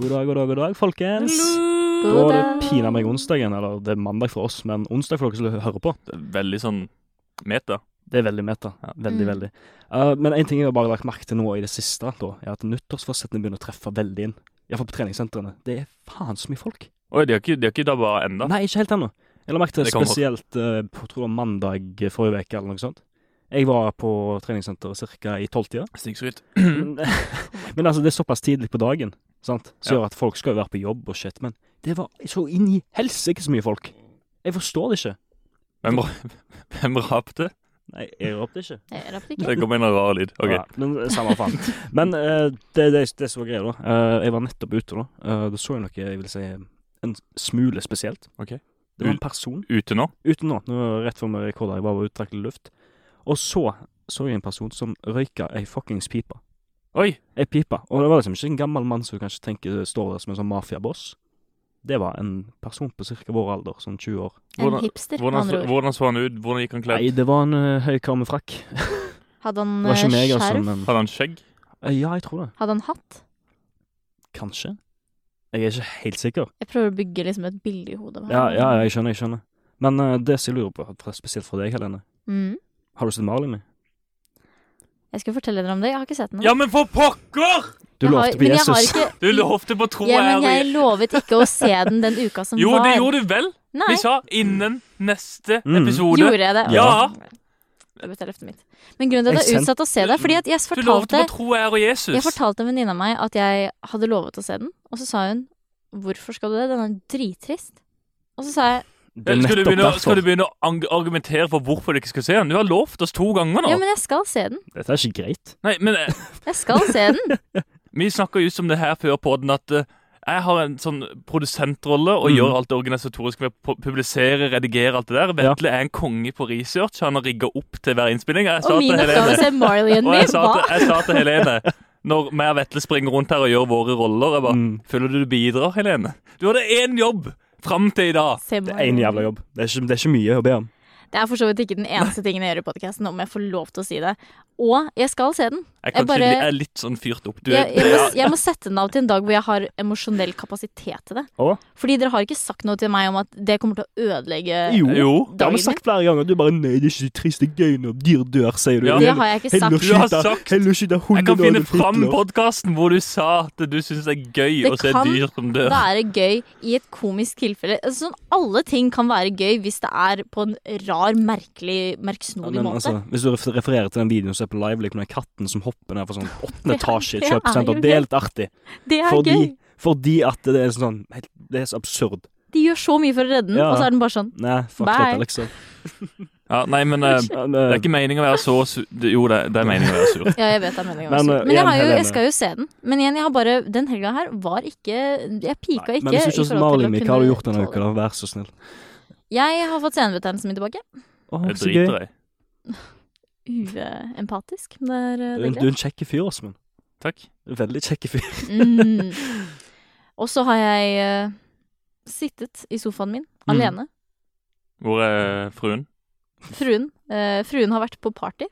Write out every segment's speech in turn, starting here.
God dag, god dag, god dag, folkens. Da God er det dag. pinadø meg onsdagen, eller det er mandag for oss, men onsdag for dere som hører på. Veldig sånn meta. Det er veldig meta. Ja. Veldig, Mm. veldig. Eh, men en ting jeg har bare lagt merke til nå i det siste, da, er at nyttårsforsettene begynner å treffe veldig inn. Iallfall på treningssentrene. Det er faen så mye folk. Oi, de har ikke, de har ikke dabba ennå. Nei, ikke helt ennå. Jeg la merke til det Det kommer. spesielt eh, på tror jeg, mandag forrige uke eller noe sånt. Jeg var på treningssenteret ca. i tolvtida. Snikskryt. Men, men altså, det er såpass tidlig på dagen, sant? så Ja. gjør at folk skal jo være på jobb og shit, men det var så inn i helsike så mye folk. Jeg forstår det ikke. Hvem, ra- hvem rapte? Nei, jeg råpte ikke. Jeg rapper ikke. Det kom en rar lyd. OK. Ja, men eh, samme faen. Men eh, det, det, det som var greia, da. eh, jeg var nettopp ute, da. Eh, da så jeg noe, jeg vil si, en smule spesielt. Ok. Mm. Det var en person Ute nå? ute nå, nå er det rett før vi rekorder, jeg var ute og trakk litt luft. Og så så jeg en person som røyka ei fuckings pipe. Oi! Ei pipe. Og det var liksom ikke en gammel mann som du kanskje tenker står der som en sånn mafiaboss. Det var en person på ca. vår alder, sånn 20 år. En Hvordan- hipster, med Hvordan, andre ord. hvordan så han ut? Hvordan gikk han kledd? Nei, det var en uh, høy kar med frakk. Det Hadde han var ikke eh, meg, altså, skjerf? men Hadde han skjegg? Eh, Ja, jeg tror det. Hadde han hatt? Kanskje. Jeg er ikke helt sikker. Jeg prøver å bygge liksom et bilde i hodet. av han. Ja, ja, ja, jeg skjønner, jeg skjønner. Men eh, det som jeg lurer på, fra- spesielt fra deg, Helene Mm. Har du sett Marlin? min? Jeg skulle fortelle dere om det. Jeg har ikke sett den. Ja, men for pokker! Du Jeg har- lovte på men jeg har Jesus. ikke- Du lovte på tro Ja, men jeg her. lovet ikke å se den den uka som Jo, var. det gjorde du vel. Nei, Vi sa innen neste Mm. episode. gjorde jeg det? Ja. Det ble løftet mitt. Men grunnen til Jeg at jeg har sendte- utsatt å se det, er fordi at jeg Du lovte fortalte, på tro her og jeg Jesus. fortalte en venninne av meg at jeg hadde lovet å se den, og så sa hun 'Hvorfor skal du det? Den er drittrist'. Og så sa jeg Det er Eller Skal du nettopp begynne, derfor. skal du begynne å ang- argumentere for hvorfor du ikke skal se den? Du har lovt oss to ganger nå. Ja, men jeg skal se den. Dette er ikke greit. Nei, men eh, Jeg skal se den. Vi snakka just om det her før på den at eh, jeg har en sånn produsentrolle og Mm. gjør alt det organisatoriske med å pu- publisere, redigere alt det der. Vetle er en konge på research. Han har rigga opp til hver innspilling. Jeg Og sa min til oppgave er å Helene, se Marley and og me. jeg sa Hva? til, jeg sa til Helene når vi og Vetle springer rundt her og gjør våre roller, jeg bare Mm. Føler du du bidrar, Helene? Du hadde én jobb fram til i dag. Se Det Marley er én and Me. jævla jobb. Det er, ikke, det er ikke mye å be om. Det er for så vidt ikke den eneste tingen jeg gjør i podkasten, om jeg får lov til å si det. Og jeg skal se den. Jeg, Jeg kanskje, bare- jeg er litt sånn fyrt opp. Du, er- jeg, jeg, må, jeg må sette den av til en dag hvor jeg har emosjonell kapasitet til det. Å? Fordi dere har ikke sagt noe til meg om at det kommer til å ødelegge Jo. jo. Det har vi dagen min. sagt flere ganger. Du bare 'nei, det er ikke så trist, det er gøy når dyr dør', sier du. Ja. Det har jeg ikke Heller sagt. skyte- Du har sagt- heller skyte Jeg hunden kan finne Adolf fram Hitler. podkasten hvor du sa at du syns det er gøy Det å se kan dyr som dør. Da er det gøy i et komisk tilfelle. Altså, sånn, alle ting kan være gøy hvis det er på en rar, Ja, merkelig, merksnodig men, måte. altså, hvis du refer- refererer til den videoen som er på live, like, med den katten som hopper ned fra sånn åttende etasje i et det er kjøpesenter, jo det er litt artig. det er Fordi, gøy. fordi at det er sånn helt, Det er så absurd. De gjør så mye for å redde den, Ja. og så er den bare sånn. Nei, fuck Bye. dette, liksom. Ja, nei, men eh, Men, Det eh, er ikke meningen å være så sur. Jo, det, det er meningen å være sur. Ja, jeg vet det er meningen. å Men, være eh, sur. igjen, Men jeg, har jo, Helene. jeg skal jo se den. Men igjen, jeg har bare Den helga her var ikke Jeg pika nei, ikke. men hvis du ikke i har sett forhold til å Marlin, Mik, kunne hva har du gjort denne tåle uka, det. da? Vær så snill. Jeg har fått senebetennelsen min tilbake. Å, Jeg så gøy. driter i. Uempatisk. men Det er, eh, Du er det er en- greit. du er en kjekk fyr, Åsmund. Takk. Veldig kjekk fyr. Mm. Og så har jeg eh, sittet i sofaen min Mm. alene. Hvor er fruen? Fruen, eh, fruen har vært på party.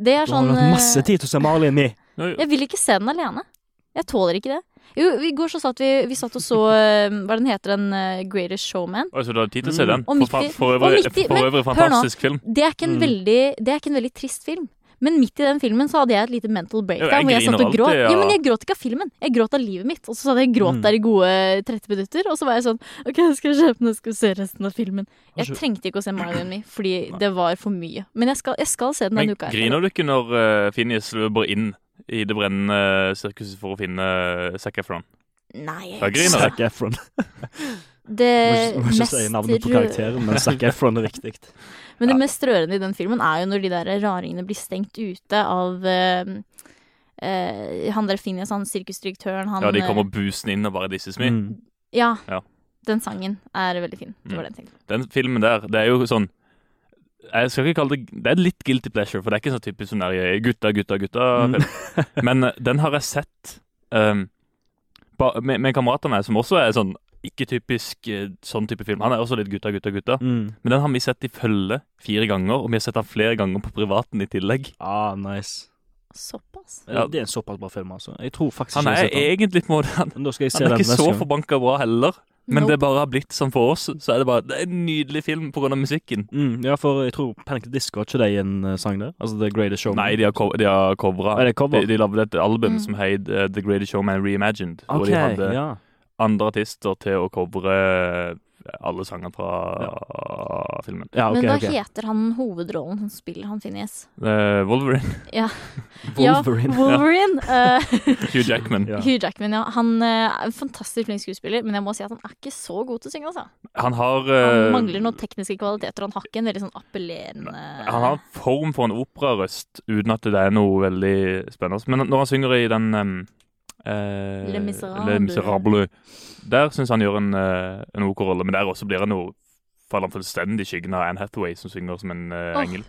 Det er Du har sånn hatt eh, masse tid til å se Marlin Mi. Nå, Jeg vil ikke se den alene. Jeg tåler ikke det. Jo, i går så satt vi, vi satt og så eh, Hva den heter den? eh, Greatest Showman. Oi, så du har tid til Mm. å se den? Og midt i- For, fa- for og øvrig, midt i- for men, øvrig hør nå. fantastisk film. Det er, ikke en Mm. veldig, det er ikke en veldig trist film. Men midt i den filmen så hadde jeg et lite mental breakdown. jeg hvor jeg griner satt og alltid, gråt. ja. Jo, men jeg gråt ikke av filmen. Jeg gråt av livet mitt. Og så satt jeg og gråt Mm. der i gode 30 minutter. Og så var jeg sånn OK, jeg skal kjøpe den, jeg skal se resten av filmen. Jeg Altså- trengte ikke å se Mario and Me, fordi det var for mye. Men jeg skal, jeg skal se den Men denne uka. her. griner du ikke når uh, Phineas løper inn i det brennende sirkuset for å finne uh, Zac Efron? Nei. Da griner jeg. Zac Efron. Det Må ikke- må ikke mest si navnet på rø- karakteren, men Zac Efron er viktig. Men det Ja. mest rørende i den filmen er jo når de der raringene blir stengt ute av eh, eh, han der Phineas, han sirkusdirektøren, han Ja, de eh, kommer busende inn og bare disses med. Mm. Ja. Ja. Mm. Den sangen er veldig fin. Det var det jeg tenkte. Den filmen der, det er jo sånn jeg skal ikke kalle det Det er litt guilty pleasure, for det er ikke sånn typisk sånn der gutta, gutta, gutta. Mm. film. Men eh, den har jeg sett um, ba, med, med kamerater av meg, som også er sånn ikke typisk eh, sånn type film. Han er også litt gutta, gutta, gutta. Mm. Men den har vi sett i følge fire ganger, og vi har sett den flere ganger på privaten i tillegg. Ah, nice. Såpass. Ja. Det er en såpass bra film, altså. Jeg tror faktisk Han ikke jeg har er sett egentlig på en måte Han, den. Men Da skal jeg se han er den ikke neste så gang. forbanka bra heller. Men Nope. det bare har blitt sånn for oss. Så er det bare Det er en nydelig film pga. musikken. Mm, ja, for jeg tror Panic! At the Disco har ikke de en eh, sang der? Altså The Greatest Show? Nei, de har, co- de har covra. Er det cover? De, de lagde et album Mm. som het eh, The Greatest Showman Reimagined. Hvor OK, de hadde ja. andre artister til å covre eh, alle sanger fra filmen. ja ok, Men hva ok. heter han hovedrollen som spiller han Phineas? Eh, Wolverine. Wolverine. Ja, Wolverine. eh, Hugh Jackman. Ja. Hugh Jackman, ja. Han eh, er en fantastisk flink skuespiller, men jeg må si at han er ikke så god til å synge, altså. Han har Han eh, mangler noen tekniske kvaliteter, og han har ikke en veldig sånn appellerende Han har en form for en operarøst uten at det er noe veldig spennende. Men når han synger i den em, eh, Les Misérables. Les Misérables, der syns han gjør en, eh, en OK rolle, men der også blir han jo faller han fullstendig i skyggen av Anne Hathaway, som synger som en eh, Åh. engel.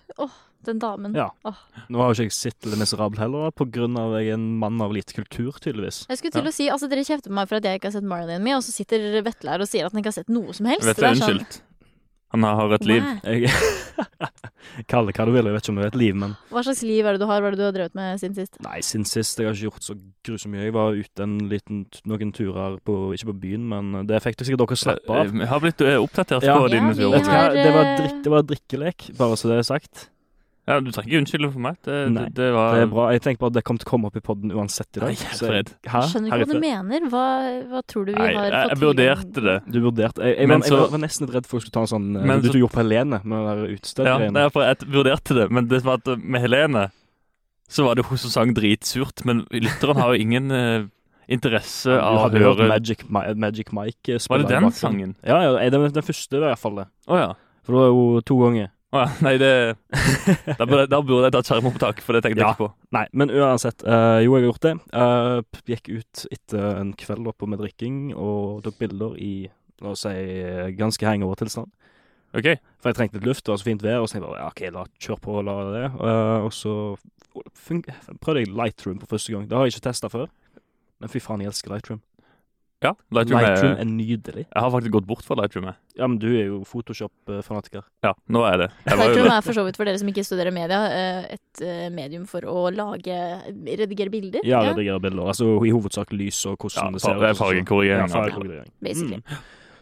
Den damen. Ja. Nå har jo ikke jeg sett Le Miserable heller, da, på grunn av jeg er en mann av lite kultur, tydeligvis. Jeg skulle til å si, altså Dere kjefter på meg for at jeg ikke har sett Marilyn Me, og så sitter Vetle her og sier at han ikke har sett noe som helst. sånn, Vet du, unnskyld. Han har et liv. Wow. Jeg Kall det hva du vil, jeg vet ikke om det er et liv, men Hva slags liv er det du har? Hva er det du har drevet med siden sist? Nei, siden sist jeg har ikke gjort så grusomt mye. Jeg var ute en liten, noen turer på Ikke på byen, men det fikk det sikkert dere slappe av. Jeg har blitt eh, oppdatert Ja. på Ja, dine vi turer. Vet du hva, har, det var, eh, drikk, det var drikkelek, bare så det er sagt. Ja, du trenger ikke unnskylde for meg. Det, det, Nei, det var Det er bra. Jeg tenkte bare at det kom til å komme opp i podden uansett i Um, Nei, dag. helt så jeg- fred. Hæ? Skjønner Her er ikke hva fred. du mener. Hva, hva tror du vi Nei, har jeg, jeg fått vurderte det. Du vurderte jeg, jeg, Men var- jeg, så- var- var nesten litt redd for å skulle ta en sånn eh, Men Du så- tok jo opp Helene med det der Ja, utstøtgreiene. nei, for jeg vurderte det, men det var at med Helene så var det hun som sang dritsurt, men lytteren har jo ingen eh, interesse du av å hadde jo hørt høre Magic, Mi- Magic Mike eh, Var spille i det den bakgrunnen. sangen? Ja, ja det- den, den første var i hvert fall det. Å ja. For det var jo to ganger. Å ja. Nei, det Da burde, da burde jeg tatt skjermopptak, for det tenkte jeg Ja. ikke på. Nei, men uansett. eh, jo, jeg har gjort det. Eh, p- gikk ut etter en kveld oppe med drikking og tok bilder i la oss si eh, ganske hangover-tilstand. OK. For jeg trengte litt luft, det var så fint vær, og så tenkte jeg bare, ja, ok, la kjør på og la det. Eh, og så fun prøvde jeg Lightroom for første gang. Det har jeg ikke testa før. Men fy faen, jeg elsker Lightroom. Ja, Lightroom, Lightroom, er, er nydelig. Jeg har faktisk gått bort fra Lightroom. Jeg. Ja, men du er jo Photoshop-fanatiker. Ja, nå er jeg det. Jeg var jo Lightroom det. er for så vidt, for dere som ikke studerer media, eh, et eh, medium for å lage redigere bilder. Ja, redigere bilder. Altså i hovedsak lys og hvordan Ja, det ser og far- sånn. Ja, fargekorrigering. altså. fargekorrigering. basically. Mm.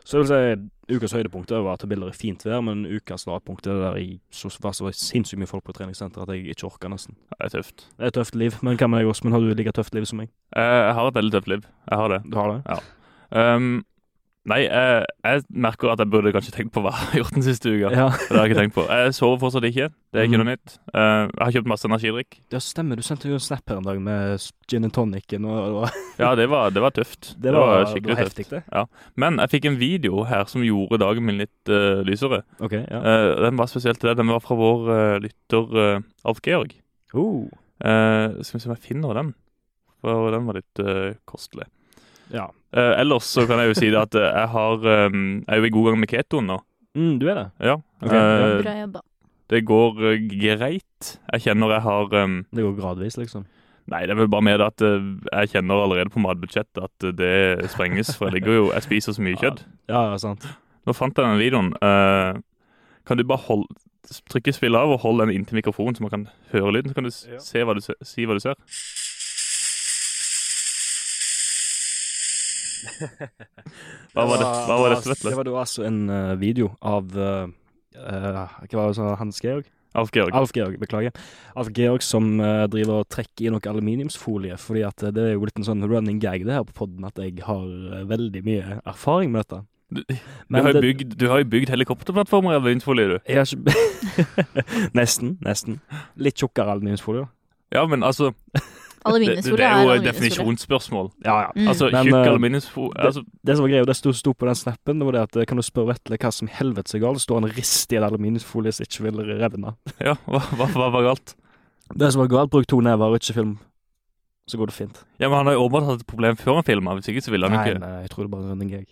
Så jeg vil si ukas høydepunkt er jo at det bilder i fint vær, men ukas lavpunkt er det der jeg så, var så sinnssykt mye folk på treningssenteret at jeg ikke orker nesten. Ja, Det er tøft. Det er et tøft liv, men hva med deg også? Men har du like tøft liv som meg? Eh, Jeg har et veldig tøft liv. Jeg har det. Du har det? Um, nei, jeg, jeg merker at jeg burde kanskje tenkt på hva jeg har gjort den siste uka. Ja. Det har jeg ikke tenkt på. Jeg sover fortsatt ikke. Det er ikke Mm. noe nytt. Eh, jeg har kjøpt masse energidrikk. Ja, stemmer. Du sendte jo en snap her en dag med s- gin and tonicen og, og Ja, det var, det var tøft. Det var, det skikkelig var heftig, det. tøft. Men jeg fikk en video her som gjorde dagen min litt eh, lysere. OK, ja. Eh, den var spesielt til det. Den var fra vår eh, lytter eh, Alf Georg. Oh. Eh, skal vi se om jeg finner den. For den var litt eh, kostelig. Ja. Eh, ellers så kan jeg jo si det at eh, jeg har eh, Jeg er jo i god gang med ketoen nå. Mm, du er det. Ja. Ok, Eh, Bra jobba. Det går eh, greit. Jeg kjenner jeg har eh, Det går gradvis, liksom. Nei, det er vel bare med det at eh, jeg kjenner allerede på matbudsjettet at eh, det sprenges, for jeg ligger jo, jeg spiser så mye kjøtt. Ja, ja, sant. Nå fant jeg den videoen. Eh, kan du bare holde, trykke spill av og holde den inntil mikrofonen, så man kan høre lyden, så kan du s- Ja. se hva du, se- si hva du ser. Hva var det, hva var det var- Det Vetle? var da altså en eh, video av eh, eh, Hva var det som Hans Georg? Alf Georg. Alf Georg, beklager. Alf Georg som eh, driver og trekker i noe aluminiumsfolie, fordi at eh, det er jo blitt en sånn running gag det her på podden at jeg har eh, veldig mye erfaring med dette. Du, du, Men har jo det- bygd, du har jo bygd helikopterplattformer i aluminiumsfolie, du. Jeg har ikke Nesten, nesten. Litt tjukkere aluminiumsfolie, da. Ja, men altså Det, det, Aluminiumsfolie det er er jo et aluminiumsfolie. definisjonsspørsmål. Ja, ja. Mm. Altså, Men, tjukk eh, aluminiumsfolie altså, Det som var greia, det sto, sto på den snappen, det var det at eh, kan du spørre Vetle hva som i helvete er galt? Det står en rist i en aluminiumsfolie som ikke vil revne. Ja, hva, hva, hva var galt? Det som var galt, bruk to never og ikke film. Så går det fint. Ja, men Han har jo åpenbart hatt et problem før han filma. Hvis ikke så ville han Nei, ikke. nei, jeg tror det bare er en running gag.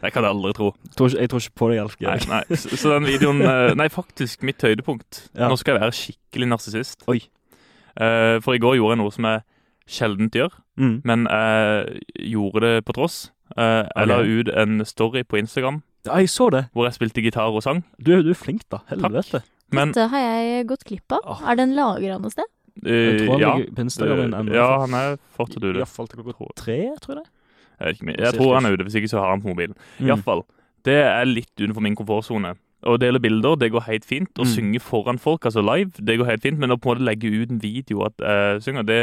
Det kan jeg aldri tro. Tror ikke, jeg tror ikke på deg, Alf Nei, Georg. nei. Så så den videoen eh, Nei, faktisk mitt høydepunkt. Ja. Nå skal jeg være skikkelig narsissist. Oi. Eh, for i går gjorde jeg noe som jeg sjeldent gjør, Mm. men jeg gjorde det på tross. Eh, jeg la Ok. ut en story på Instagram Ja, jeg så det. hvor jeg spilte gitar og sang. Du, du er flink, da. Helvete. Men Dette har jeg eh, gått glipp av. Åh. Er den lagra noe sted? Jeg tror han Eh, ja. Eh, ligger på Instagram ennå. ja, han er fortsatt ute. Iallfall til klokka tre, tror jeg Mm. det. Jeg, vet ikke, mye. jeg tror han er ute, hvis ikke så har han på mobilen. I hvert fall, det er litt utenfor min komfortsone. Å dele bilder, det går helt fint. Å Mm. synge foran folk, altså live, det går helt fint. Men å på en måte legge ut en video at jeg synger, det,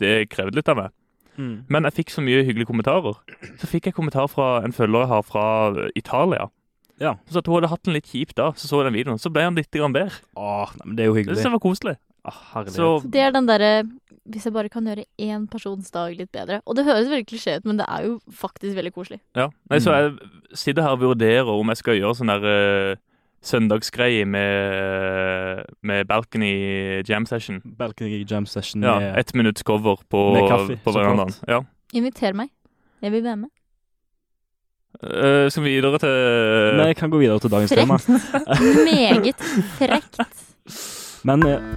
det krevde litt av meg. Mm. Men jeg fikk så mye hyggelige kommentarer. Så fikk jeg kommentar fra en følger jeg har fra eh, Italia. Ja. Som sa at hun hadde hatt den litt kjipt da, så så jeg den videoen. Så ble han litt grann bedre. Åh, nei, men det er jo Jeg synes hyggelig. det var koselig. Ah, herlighet. Så Så det er den derre Hvis jeg bare kan gjøre én persons dag litt bedre. Og det høres veldig klisjé ut, men det er jo faktisk veldig koselig. Ja. Nei, Mm. så jeg sitter her og vurderer om jeg skal gjøre sånn der eh, søndagsgreie med, eh, med balcony jam session. Balcony jam session Ja, med Ett minutts cover på, Med kaffe, på så verandaen. klart. Ja. Inviter meg. Jeg vil være med. Eh, skal vi videre til Nei, jeg kan gå videre til dagens tema. Frekt. Meget frekt. Men eh,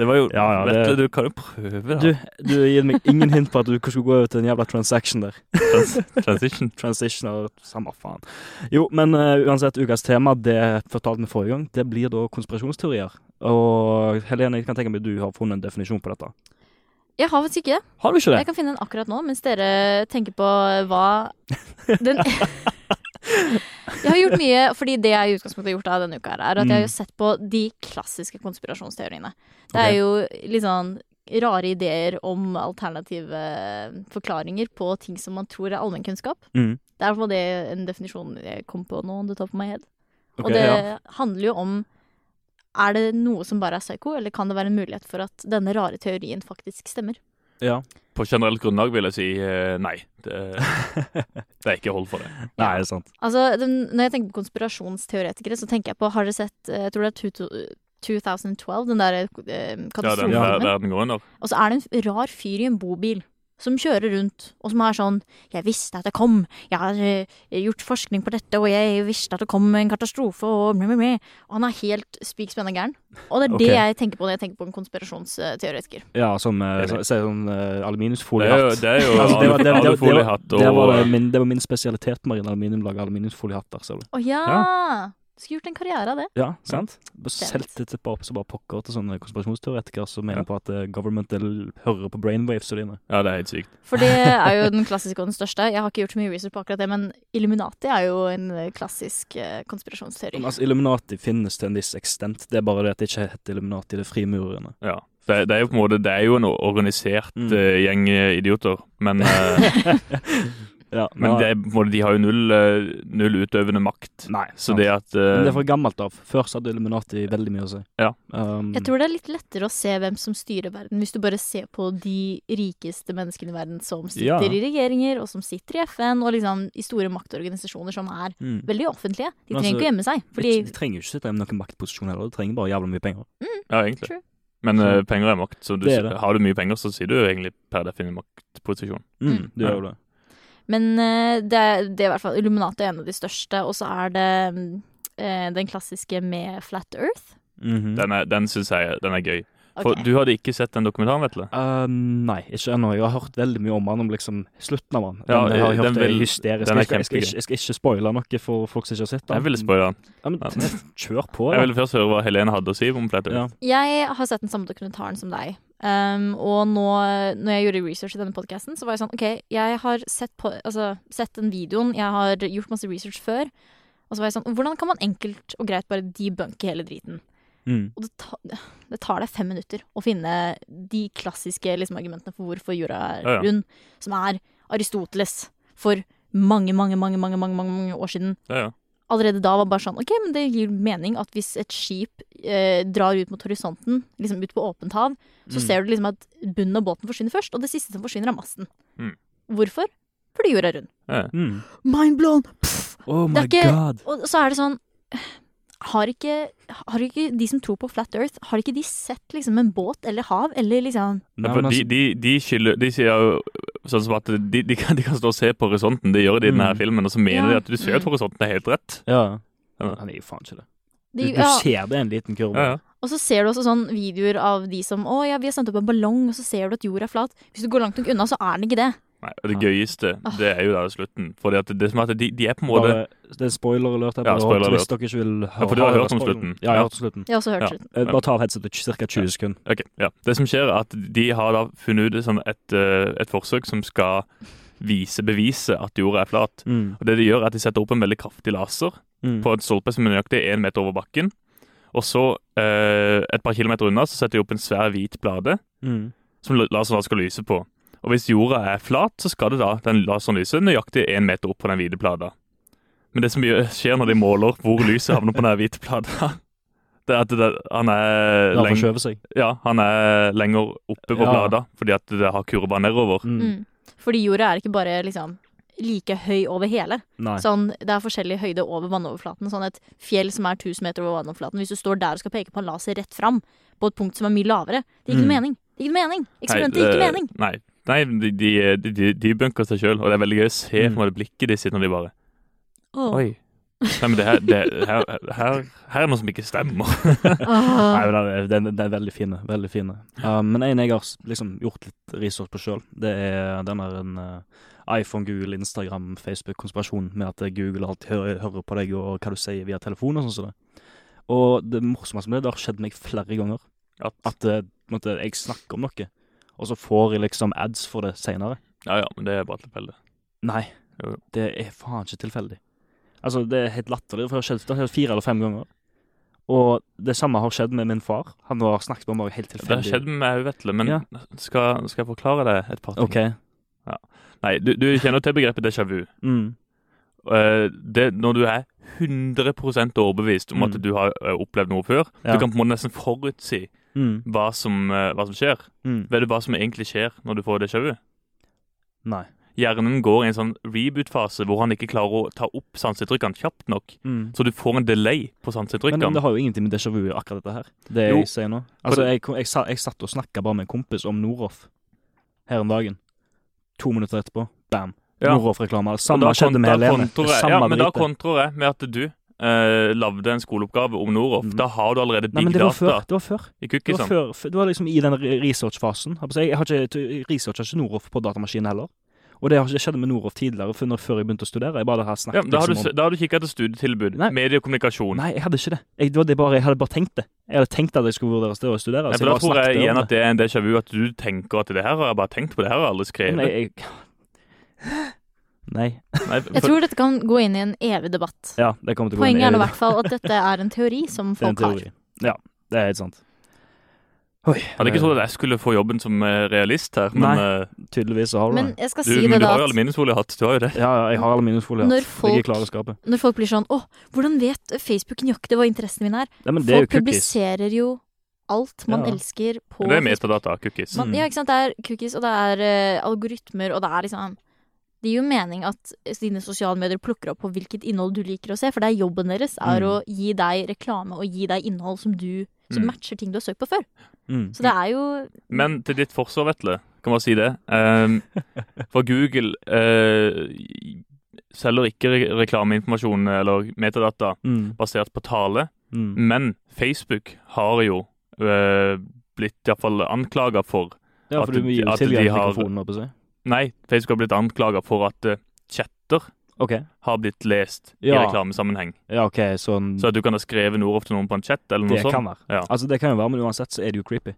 Det var jo Ja, ja, vet det- du, du kan jo prøve, du, da. du gir meg ingen hint på at du skulle gå over til en jævla transaction der. Transition. Transition og samme faen. Jo, men eh, uansett, ukas tema, det fortalte vi forrige gang, det blir da konspirasjonsteorier. Og Helene, jeg kan tenke meg du har funnet en definisjon på dette. Jeg har faktisk ikke det. Har du ikke det? Jeg kan finne en akkurat nå, mens dere tenker på hva den Jeg har gjort mye, fordi det jeg i utgangspunktet har gjort av denne uka, her, er at jeg Mm. har jo sett på de klassiske konspirasjonsteoriene. Det er Ok. jo litt sånn rare ideer om alternative eh, forklaringer på ting som man tror er allmennkunnskap. Mm. Det er i hvert fall det en definisjon jeg kom på nå, on the top of my head. Ok, og det ja. handler jo om er det noe som bare er psyko, eller kan det være en mulighet for at denne rare teorien faktisk stemmer? ja. På generelt grunnlag vil jeg si eh, nei. Det, det er ikke hold for det. Nei, det er sant. Altså, den, Når jeg tenker på konspirasjonsteoretikere, så tenker jeg på Har dere sett eh, Jeg tror det er 2000 2012, den der eh, Ja, den katastrofefilmen. ver- verden går under. Og så er det en rar fyr i en bobil som kjører rundt, og som er sånn 'Jeg visste at det kom. Jeg har eh, gjort forskning på dette, og jeg visste at det kom en katastrofe', og meh, meh, meh. Og han er helt spik spenna gæren. Og det er Ok. det jeg tenker på når jeg tenker på en konspirasjonsteoretiker. Ja, som eh, Enig. så- så er det sånn eh, Det er jo, aluminiumsfoliehatt. det er jo Altså, det var- det- det- det- alufoliehatt Det var, det og min, det var min spesialitet, Marine Aluminium, lage aluminiumsfoliehatter, ser du. Å ja! Du skulle gjort en karriere av det. Ja, sant? Stemt. Selvtillit til bare, så bare pokker til sånne konspirasjonsteoretikere som mener Ja. på at eh, government del- hører på brainwaves og dine. Ja, det er helt sykt. For det er jo den klassiske og den største. Jeg har ikke gjort så mye research på akkurat det, men Illuminati er jo en eh, klassisk eh, konspirasjonsteori. Men altså, Illuminati finnes til en viss ekstent, det er bare det at det ikke heter Illuminati, det er frimurerne. Ja. Det, det er jo på en måte Det er jo en organisert Mm. eh, gjeng eh, idioter, men, eh, Ja, men det, er på en måte, de har jo null, eh, null utøvende makt. Nei, Så sant. det at eh, Men det er fra gammelt av. Før så hadde Illuminati veldig mye å si. Ja. mm. Um, Jeg tror det er litt lettere å se hvem som styrer verden, hvis du bare ser på de rikeste menneskene i verden som Ja. sitter i regjeringer, og som sitter i FN, og liksom i store maktorganisasjoner som er mm. veldig offentlige. De Men trenger altså, ikke å gjemme seg, fordi de, de trenger jo ikke sitte i noen maktposisjon heller, de trenger bare jævla mye penger. Ja, egentlig. True. Men Så- eh, penger er makt, så Mm. du, Det er det. har du mye penger, så sier du jo egentlig per defin maktposisjon. Mm, Mm. Det gjør jo det. Men eh, det, er- det er i hvert fall Illuminati er en av de største, og så er det mm, eh, den klassiske med Flat Earth. Mhm. Den, er- den syns jeg den er gøy. For Ok. du hadde ikke sett den dokumentaren, vet du? Eh, nei, ikke ennå. Jeg har hørt veldig mye om han, om liksom slutten av han. Den Ja, har jeg den hørt er vil- hysterisk. den er jeg, skal, jeg, skal, kjempegøy. ikke, jeg skal ikke spoile noe for folk som ikke har sett den. Jeg ville spoile den. Ja, men, Ja. kjør på, Jeg da. ville først høre hva Helene hadde å si om Flat Ja. Earth. Jeg har sett den samme dokumentaren som deg. Um, og nå, når jeg gjorde research i denne podkasten, så var jeg sånn OK, jeg har sett, på, altså, sett den videoen, jeg har gjort masse research før. Og så var jeg sånn Hvordan kan man enkelt og greit bare debunke hele driten? Mm. Og det, ta, det tar deg fem minutter å finne de klassiske liksom, argumentene for hvorfor jorda Ja, ja. er rund, som er Aristoteles for mange, mange, mange, mange, mange, mange, mange år siden Ja, ja. allerede da var bare sånn Ok, men det gir mening at hvis et skip eh, drar ut mot horisonten, liksom ut på åpent hav, så Mm. ser du liksom at bunnen av båten forsvinner først, og det siste som forsvinner, er masten. Mm. Hvorfor? Fordi jorda er rund. Ja. Mm. Mind blown! Pff! Oh my Det er ikke- god. Og så er det sånn har ikke, har ikke de som tror på flat earth, har ikke de sett liksom en båt eller hav eller liksom Ja, for men de, altså- de, de, skylder, de sier jo sånn som at de, de, kan, de kan stå og se på horisonten, det gjør de i denne Mm. filmen, og så mener Ja. de at du ser at horisonten er helt rett. Ja. Ja. Han er jo faen ikke det. Du, de, du ser det er en liten kurve. Ja, ja. Og så ser du også sånn videoer av de som Å ja, vi har sendt opp en ballong, og så ser du at jorda er flat. Hvis du går langt nok unna, så er den ikke det. Nei, og det gøyeste, det er jo der i slutten. Fordi at det som er at de, de er på en måte Bare, det er spoiler-alert her, Ja, bare spoiler alert. hvis dere ikke vil høre Ja, for du har høre hørt om spoileren. slutten. Ja, jeg har hørt om slutten. Jeg har også hørt sånn. Ja. slutten. Eh, Bare ta av headsetet ca. 20 sekunder. Ok, ja. Det som skjer, er at de har da funnet ut et, sånn et, eh, et forsøk som skal vise beviset at jorda er flat. Mm. Og det De gjør er at de setter opp en veldig kraftig laser Mm. på en stolpe som er nøyaktig én meter over bakken. Og så, eh, et par kilometer unna, så setter de opp en svær hvit plate Mm. som la- laseren da skal lyse på. Og hvis jorda er flat, så skal det da den laseren lyse nøyaktig én meter opp på den hvite plata. Men det som gjør- skjer når de måler hvor lyset havner på den her hvite plata, det er at det, han er La leng- forskjøve seg. ja, han er lenger oppe på Ja. plata, fordi at det har kurva nedover. Mm. Mm. Fordi jorda er ikke bare liksom like høy over hele. Nei. Sånn, det er forskjellig høyde over vannoverflaten. Sånn et fjell som er 1000 meter over vannoverflaten. Hvis du står der og skal peke på en laser rett fram, på et punkt som er mye lavere, det gir ikke Mm. noe mening. Det gir ikke noe mening. Eksperimentet Nei, gir det- ikke mening. eh, Nei, nei de, de, de, de bunker seg sjøl, og det er veldig gøy å se Mm. på en måte blikket de sitter når de bare Åh. Oi. Nei, men det her, det, her, her, her er noe som ikke stemmer. Åh. Nei, men den, er- den, den er veldig fin. Veldig fin. Uh, men en jeg har s- liksom gjort litt research på sjøl, det er den der en uh, iPhone, Google, Instagram, Facebook-konspirasjonen med at Google alltid hører, hører på deg og hva du sier via telefon og sånn som det. Og det morsomste med det, det har skjedd meg flere ganger, At, at uh, på en måte, jeg snakker om noe, og så får jeg liksom ads for det seinere. ja, ja, men det er bare tilfeldig. Nei, Jo. det er faen ikke tilfeldig. Altså, det er helt latterlig, for det har skjedd, det har skjedd fire eller fem ganger. Og det samme har skjedd med min far. Han har snakket med meg helt Det har tilfeldig. skjedd med meg, Vetle, men Ja. skal, skal jeg forklare deg et par ting? OK. Nei, du, du kjenner til begrepet déjà vu. Mm. Eh, det, når du er 100 overbevist om at Mm. du har eh, opplevd noe før, Ja. du kan på en måte nesten forutsi Mm. hva som, eh, hva som skjer. Mm. Vet du hva som egentlig skjer når du får déjà vu? Nei. Hjernen går i en sånn reboot-fase hvor han ikke klarer å ta opp sanseinntrykkene kjapt nok. Mm. Så du får en delay på Men det sanseinntrykkene. har jo ingenting med déjà vu å gjøre, akkurat dette her. Det Jo. jeg sier nå. Altså, jeg, kom- jeg, sa- jeg satt og snakka bare med en kompis om Noroff her om dagen. To minutter etterpå, bam. Ja. Noroff-reklame. Det Og samme da skjedde med kontra- Helene. kontrer Det jeg- samme Ja, men da dritet. kontrer jeg med at du eh, lagde en skoleoppgave om Noroff. Mm. Da har du allerede Nei, big men det var før. data Det var før. i sånn. Det var, cookiesen. før, f- det var liksom i den re- researchfasen. Jeg, jeg har ikke t- researchet ikke Noroff på datamaskinen heller. Og det har ikke skjedd med Noroff tidligere, før, før jeg begynte å studere. Jeg bare har Ja, snakket da har du, liksom s- da har du kikket etter studietilbud, Nei. mediekommunikasjon. om Nei, jeg hadde ikke det. Jeg, det var det bare, jeg hadde bare tenkt det. Jeg hadde tenkt at altså, jeg skulle vurdere sted å studere. Nei, så for da bare tror jeg snakket igjen om at det er en déjà vu, at du tenker at det her har jeg bare tenkt på, det her har jeg aldri skrevet. Men jeg, jeg... Nei. Nei, for- Jeg tror dette kan gå inn i en evig debatt. Ja, det kommer til å gå Poenget er nå i i hvert fall at dette er en teori som Det er en folk har. teori. Ja, det er helt sant. Oi. eh, Hadde ikke trodd at jeg skulle få jobben som eh, realist her, men, eh, Tydeligvis så har du Men det. jeg skal du, si men det du da har jo at aluminiumsfoliehatt. Du har jo det. Ja, ja, jeg har aluminiumsfolie. her. Ligger Når folk- klar i skapet. når folk blir sånn Å, hvordan vet Facebook nøyaktig hva interessen min er? Nei, men det er Folk jo cookies. publiserer jo alt man Ja. elsker på Det er Facebook. metadata, Mm. cookies. Man, ja, ikke sant? Det er cookies, og det er eh, algoritmer, og det er liksom Det gir jo mening at dine sosiale medier plukker opp på hvilket innhold du liker å se, for det er jobben deres er Mm. å gi deg reklame og gi deg innhold som du som Mm. matcher ting du har søkt på før. Mm. Så det er jo Men til ditt forsvar, Vetle, kan man si det. Ehm, for Google eh, selger ikke re reklameinformasjon eller metadata Mm. basert på tale, Mm. men Facebook har jo eh, blitt iallfall anklaga for Ja, At for du de- gir jo at de tilgang til har- mikrofonen, holdt på å si. Nei, Facebook har blitt anklaga for at eh, chatter OK. har blitt lest i Ja. reklamesammenheng. Ja, OK, sånn Så at du kan ha skrevet Noroff til noen på en chat, eller noe Det sånt. kan være. Ja. Altså, det kan jo være, men uansett så er det jo creepy. At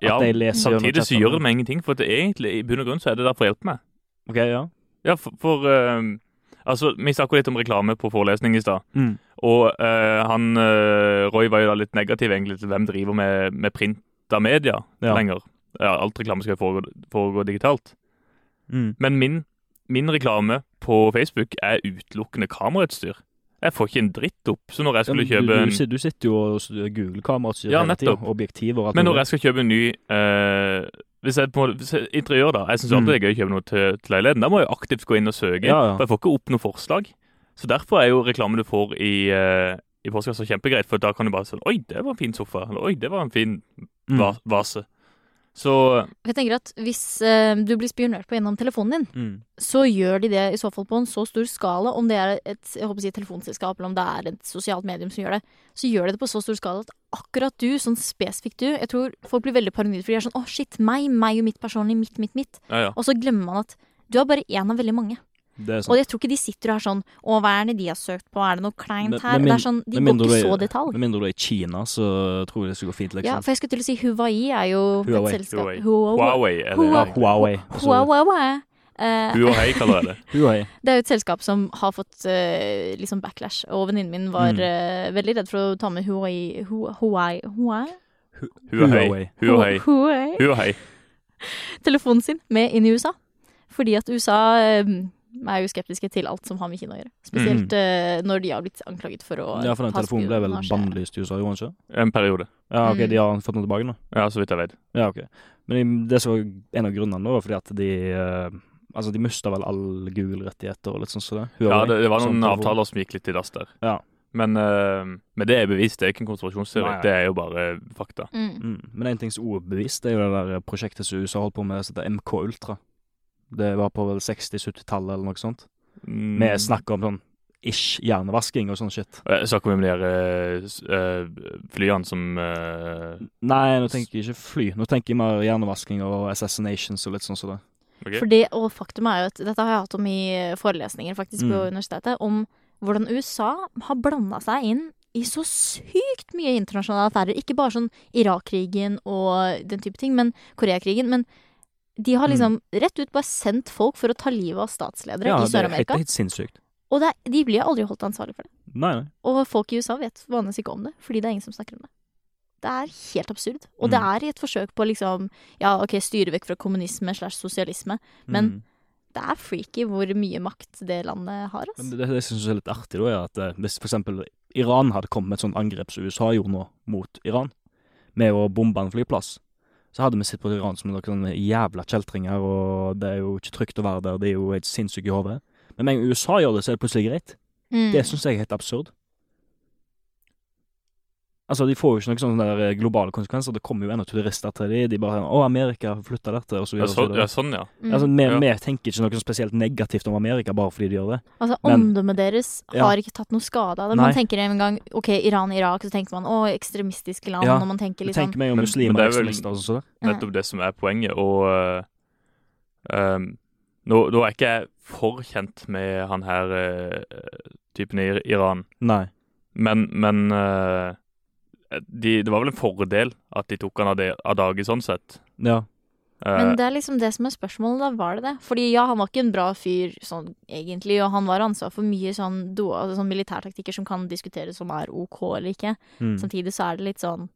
Ja, de leser gjennom Samtidig så chatten. gjør det meg ingenting, for at det er egentlig, i bunn og grunn så er det der for å hjelpe meg. OK, ja. Ja, for, for eh, Altså, vi snakket litt om reklame på forelesning i stad. Mm. Og eh, han eh, Roy var jo da litt negativ egentlig til hvem driver med, med print av media Ja. lenger. Ja, alt reklame skal jo foregå, foregå digitalt. Mm. Men min, min reklame på Facebook er utelukkende kamerautstyr. Jeg får ikke en dritt opp. Så når jeg skulle Ja, men kjøpe du, en du, sit- du sitter jo og s- googler kameraet sitt Ja, hele tiden, nettopp. objektiver og alt Men når mulig. jeg skal kjøpe en ny eh, hvis jeg på en måte, hvis jeg, Interiør, da. Jeg syns alltid det er gøy å kjøpe noe til, til leiligheten. Da må jeg jo aktivt gå inn og søke. Mm. Ja, ja. For jeg får ikke opp noe forslag. Så derfor er jo reklamen du får i, eh, i postkassa kjempegreit, for da kan du bare sånn Oi, det var en fin sofa. Eller oi, det var en fin Mm. va vase. Så Jeg tenker at hvis eh, du blir spionert på gjennom telefonen din, Mm. så gjør de det i så fall på en så stor skala, om det er et jeg håper å si, et telefonselskap eller om det er et sosialt medium som gjør det, så gjør de det på så stor skala at akkurat du, sånn spesifikt du Jeg tror folk blir veldig paranoide, for de er sånn 'Å, shit, meg, meg og mitt personlig, mitt, mitt, mitt'. ja, ja. Og så glemmer man at Du er bare én av veldig mange. Det er sånn. Og sant. jeg tror ikke de sitter og er sånn Å, hva er det de har søkt på? Er det noe kleint Med- med her? det min- er sånn, med De går mindre ikke du så er- detalj. Med mindre du er i Kina, så tror jeg det skal gå fint, Ja, liksom. for jeg skulle til å si Huawei er jo Huawei, et selskap Huawei. Huawei. Huawei er det. Oh, Ja, Huawei. Huawei. altså- Huawei. Eh, Huawei kaller jeg det. Huawei. det er jo et selskap som har fått eh, liksom backlash, og venninnen min var Mm. eh, veldig redd for å ta med Huawei Hu- Huawei Huawei? Huawei. Huawei. Huawei. Huawei. telefonen sin med inn i USA. Fordi at USA eh, er jo skeptiske til alt som har med Kina å gjøre. Spesielt eh, når de har blitt anklaget for å Ja, for den ta telefonen ble vel spionasje. bannlyst i USA, gjorde den ikke? En periode. Ja, ok, Mm. de har fått den tilbake nå? Ja, så vidt jeg vet. Ja, ok. Men det som var en av grunnene nå, var fordi at de eh, Altså, de mista vel all Google-rettigheter og litt sånn som det. Ja, Huawei, det, det var som noen telefon. avtaler som gikk litt i dass der. sånn Ja. Men, eh, men det er bevist, det er ikke en konspirasjonsteori. Nei. Det er jo bare eh, fakta. Mm. Mm. Men en ting som også er bevist, det er jo det der prosjektet som USA holdt på med, som heter MK Ultra. Det var på vel 60-70-tallet eller noe sånt. Mm. Vi snakker om sånn ish hjernevasking og sånn shit. Jeg snakker vi om de her eh, s- eh, flyene som eh, Nei, nå tenker jeg ikke fly. Nå tenker jeg mer hjernevasking og assassinations og litt sånn som det. ok? For det, og faktum er jo at dette har jeg hatt om i eh, forelesninger faktisk på Mm. universitetet, om hvordan USA har blanda seg inn i så sykt mye internasjonale affærer. Ikke bare sånn Irak-krigen og den type ting, men Koreakrigen. Men de Mm. har liksom rett ut bare sendt folk for å ta livet av det statsledere i er helt, Sør-Amerika. helt sinnssykt. Og det, er- de blir aldri holdt ansvarlig for det. Nei, nei. Og folk i USA vet vanligvis ikke om det, fordi det er ingen som snakker om det. Det er helt absurd. Og det Mm. er i et forsøk på liksom, ja, ok, styre vekk fra kommunisme slash sosialisme. Mm. Men det er freaky hvor mye makt det landet har. Men Altså. det, det jeg synes er litt artig, da, er at eh, hvis for eksempel Iran hadde kommet med et sånt angrep som USA gjorde nå, mot Iran, med å bombe en flyplass, så hadde vi sett på Iran som noen sånne jævla kjeltringer, og det er jo ikke trygt å være der, de er jo helt sinnssyke i hodet. Men med en gang USA gjør det, så er det plutselig greit. Mm. Det syns jeg er helt absurd. Altså, De får jo ikke noen sånne der eh, globale konsekvenser. Det kommer jo ennå turister til de, De bare 'Å, Amerika flytta dette', og så ja, videre. og så sånn, ja, videre. sånn, ja. Mm. Altså, vi, Ja. vi tenker ikke noe spesielt negativt om Amerika bare fordi de gjør det. altså, men- Omdømmet deres Ja. har ikke tatt noe skade av det. Nei. Man tenker en gang ok, Iran-Irak, så tenker man å, ekstremistiske land. Ja. Og man tenker liksom. litt Tenk meg om Men- men muslimer og det er vel- ekstremister og sånn. Nettopp det som er poenget. Og eh, ehm, nå, nå er ikke jeg for kjent med han her eh, typen i Iran, Nei. men, men eh, de, det var vel en fordel at de tok han av, det- av dage, sånn sett. Ja. Eh, Men det er liksom det som er spørsmålet, da. Var det det? Fordi ja, han var ikke en bra fyr sånn egentlig, og han var ansvar for mye sånn, do, altså, sånn militærtaktikker som kan diskuteres om er OK eller ikke. Mm. Samtidig så er det litt sånn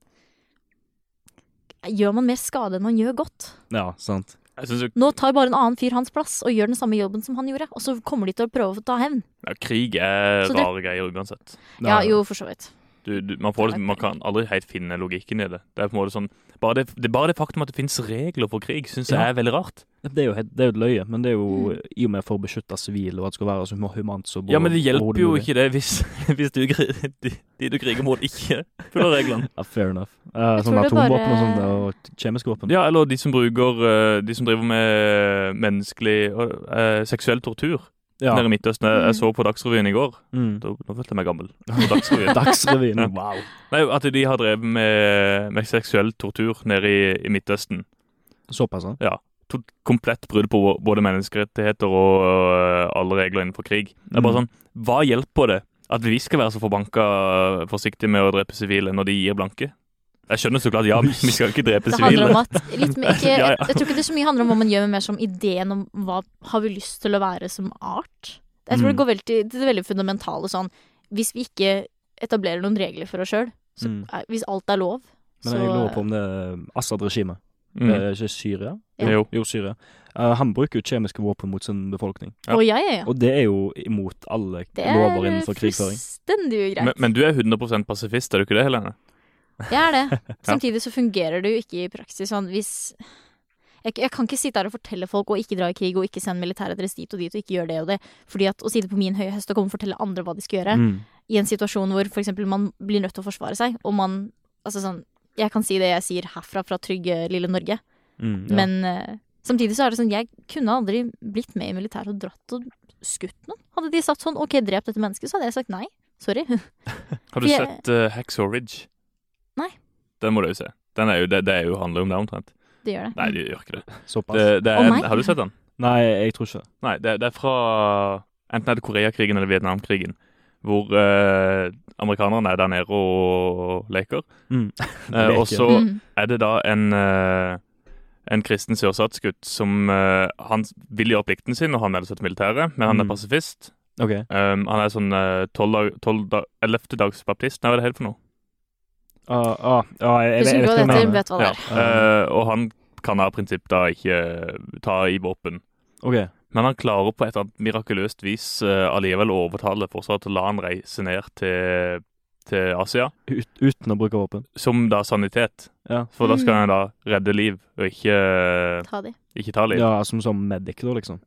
Gjør man mer skade enn man gjør godt? Ja, sant. jeg synes jo Nå tar bare en annen fyr hans plass og gjør den samme jobben som han gjorde, og så kommer de til å prøve å ta hevn. ja, krig er Så det- rare greier uansett. Ja, jo, for så vidt. Du, du, man, får, liksom, Det er man kan aldri helt finne logikken i det. Det er på en måte sånn Bare det, det, bare det faktum at det finnes regler for krig, syns jeg Ja. er veldig rart. Det er jo, helt- det er jo et løye, men det er jo Mm. i og med for å beskytte sivile og at det skal være så humant som Ja, men det overhodet hjelper jo mulig. ikke det hvis, hvis du, kri- de, de du kriger mot, ikke følger reglene. Ja, fair enough. Uh, Jeg sånn tror det atomvåpen bare- og sånn der, og kjemiske våpen. Ja, eller de som bruker eh, De som driver med eh, menneskelig og, eh, seksuell tortur nede i Midtøsten. Jeg, Mm. jeg så på Dagsrevyen i går. Mm. Da, nå følte jeg meg gammel. På Dagsrevyen. Dagsrevyen, Ja. wow. Nei, at de har drevet med, med seksuell tortur nede i, i Midtøsten. Såpass, ja. To, komplett brudd på både menneskerettigheter og eh, alle regler innenfor krig. Det er bare Mm. sånn Hva hjelper det at vi skal være så forbanka eh, forsiktige med å drepe sivile når de gir blanke? Jeg skjønner så klart, ja, vi skal ikke drepe Det handler sivile. om at litt mer, ikke, Ja, ja. jeg, jeg tror ikke det så mye handler om hva man gjør, men mer som ideen om hva har vi lyst til å være som art. Jeg tror Mm. det går veldig til det veldig fundamentale sånn Hvis vi ikke etablerer noen regler for oss sjøl, Mm. hvis alt er lov, Men jeg lurer på om det er Assad-regimet. Mm. Er det ikke Syria? Ja. Jo. Jo, Syria. Eh, han bruker jo kjemiske våpen mot sin befolkning. Ja. Å, ja, ja, ja. Og det er jo imot alle Det lover er innenfor krigføring. fullstendig ugreit. Men, men du er 100 pasifist, er du ikke det, Helene? Jeg er det. Samtidig så fungerer det jo ikke i praksis sånn hvis jeg, jeg kan ikke sitte her og fortelle folk å ikke dra i krig og ikke sende militæret deres dit og dit og ikke gjøre det og det. Fordi at å sitte på min høye hest og komme og fortelle andre hva de skal gjøre, Mm. i en situasjon hvor for eksempel man blir nødt til å forsvare seg, og man Altså sånn Jeg kan si det jeg sier herfra fra trygge, lille Norge, Mm, ja. men eh, samtidig så er det sånn Jeg kunne aldri blitt med i militæret og dratt og skutt noen. Hadde de sagt sånn OK, drep dette mennesket, så hadde jeg sagt nei. Sorry. Har For du jeg- sett uh, Hacksaw Ridge? Nei. Den må du jo se. Den er jo, det, det er jo handler om det omtrent. Det Mm. gjør det. Nei, det gjør ikke det. Såpass. det, det Å, er, nei. har du sett den? Nei, jeg tror ikke det. Nei, det, det er fra enten er det Koreakrigen eller Vietnamkrigen. Hvor eh, amerikanerne er der nede og leker. Mm. Eh, og Leker. så Mm. er det da en, eh, en kristen sørstatsgutt som eh, Han vil gjøre plikten sin og han melder seg til militæret, men han Mm. er pasifist. OK. Um, han er sånn ellevte dags baptist, nei, hva er det helt for noe? Ah, ah, ah, jeg, jeg, Hvis jeg, du vet går hva jeg etter, mener. vet du hva det Ja. er. Ah. Eh, og han kan av prinsipp da ikke eh, ta i våpen. OK. Men han klarer på et eller annet mirakuløst vis eh, allikevel å overtale fortsatt til å la han reise ned til, til Asia, Ut, uten å bruke våpen. som da sanitet. Ja. For da skal Mm. han da redde liv, og ikke, Ta de. ikke ta liv. ja, som som medic, da, liksom.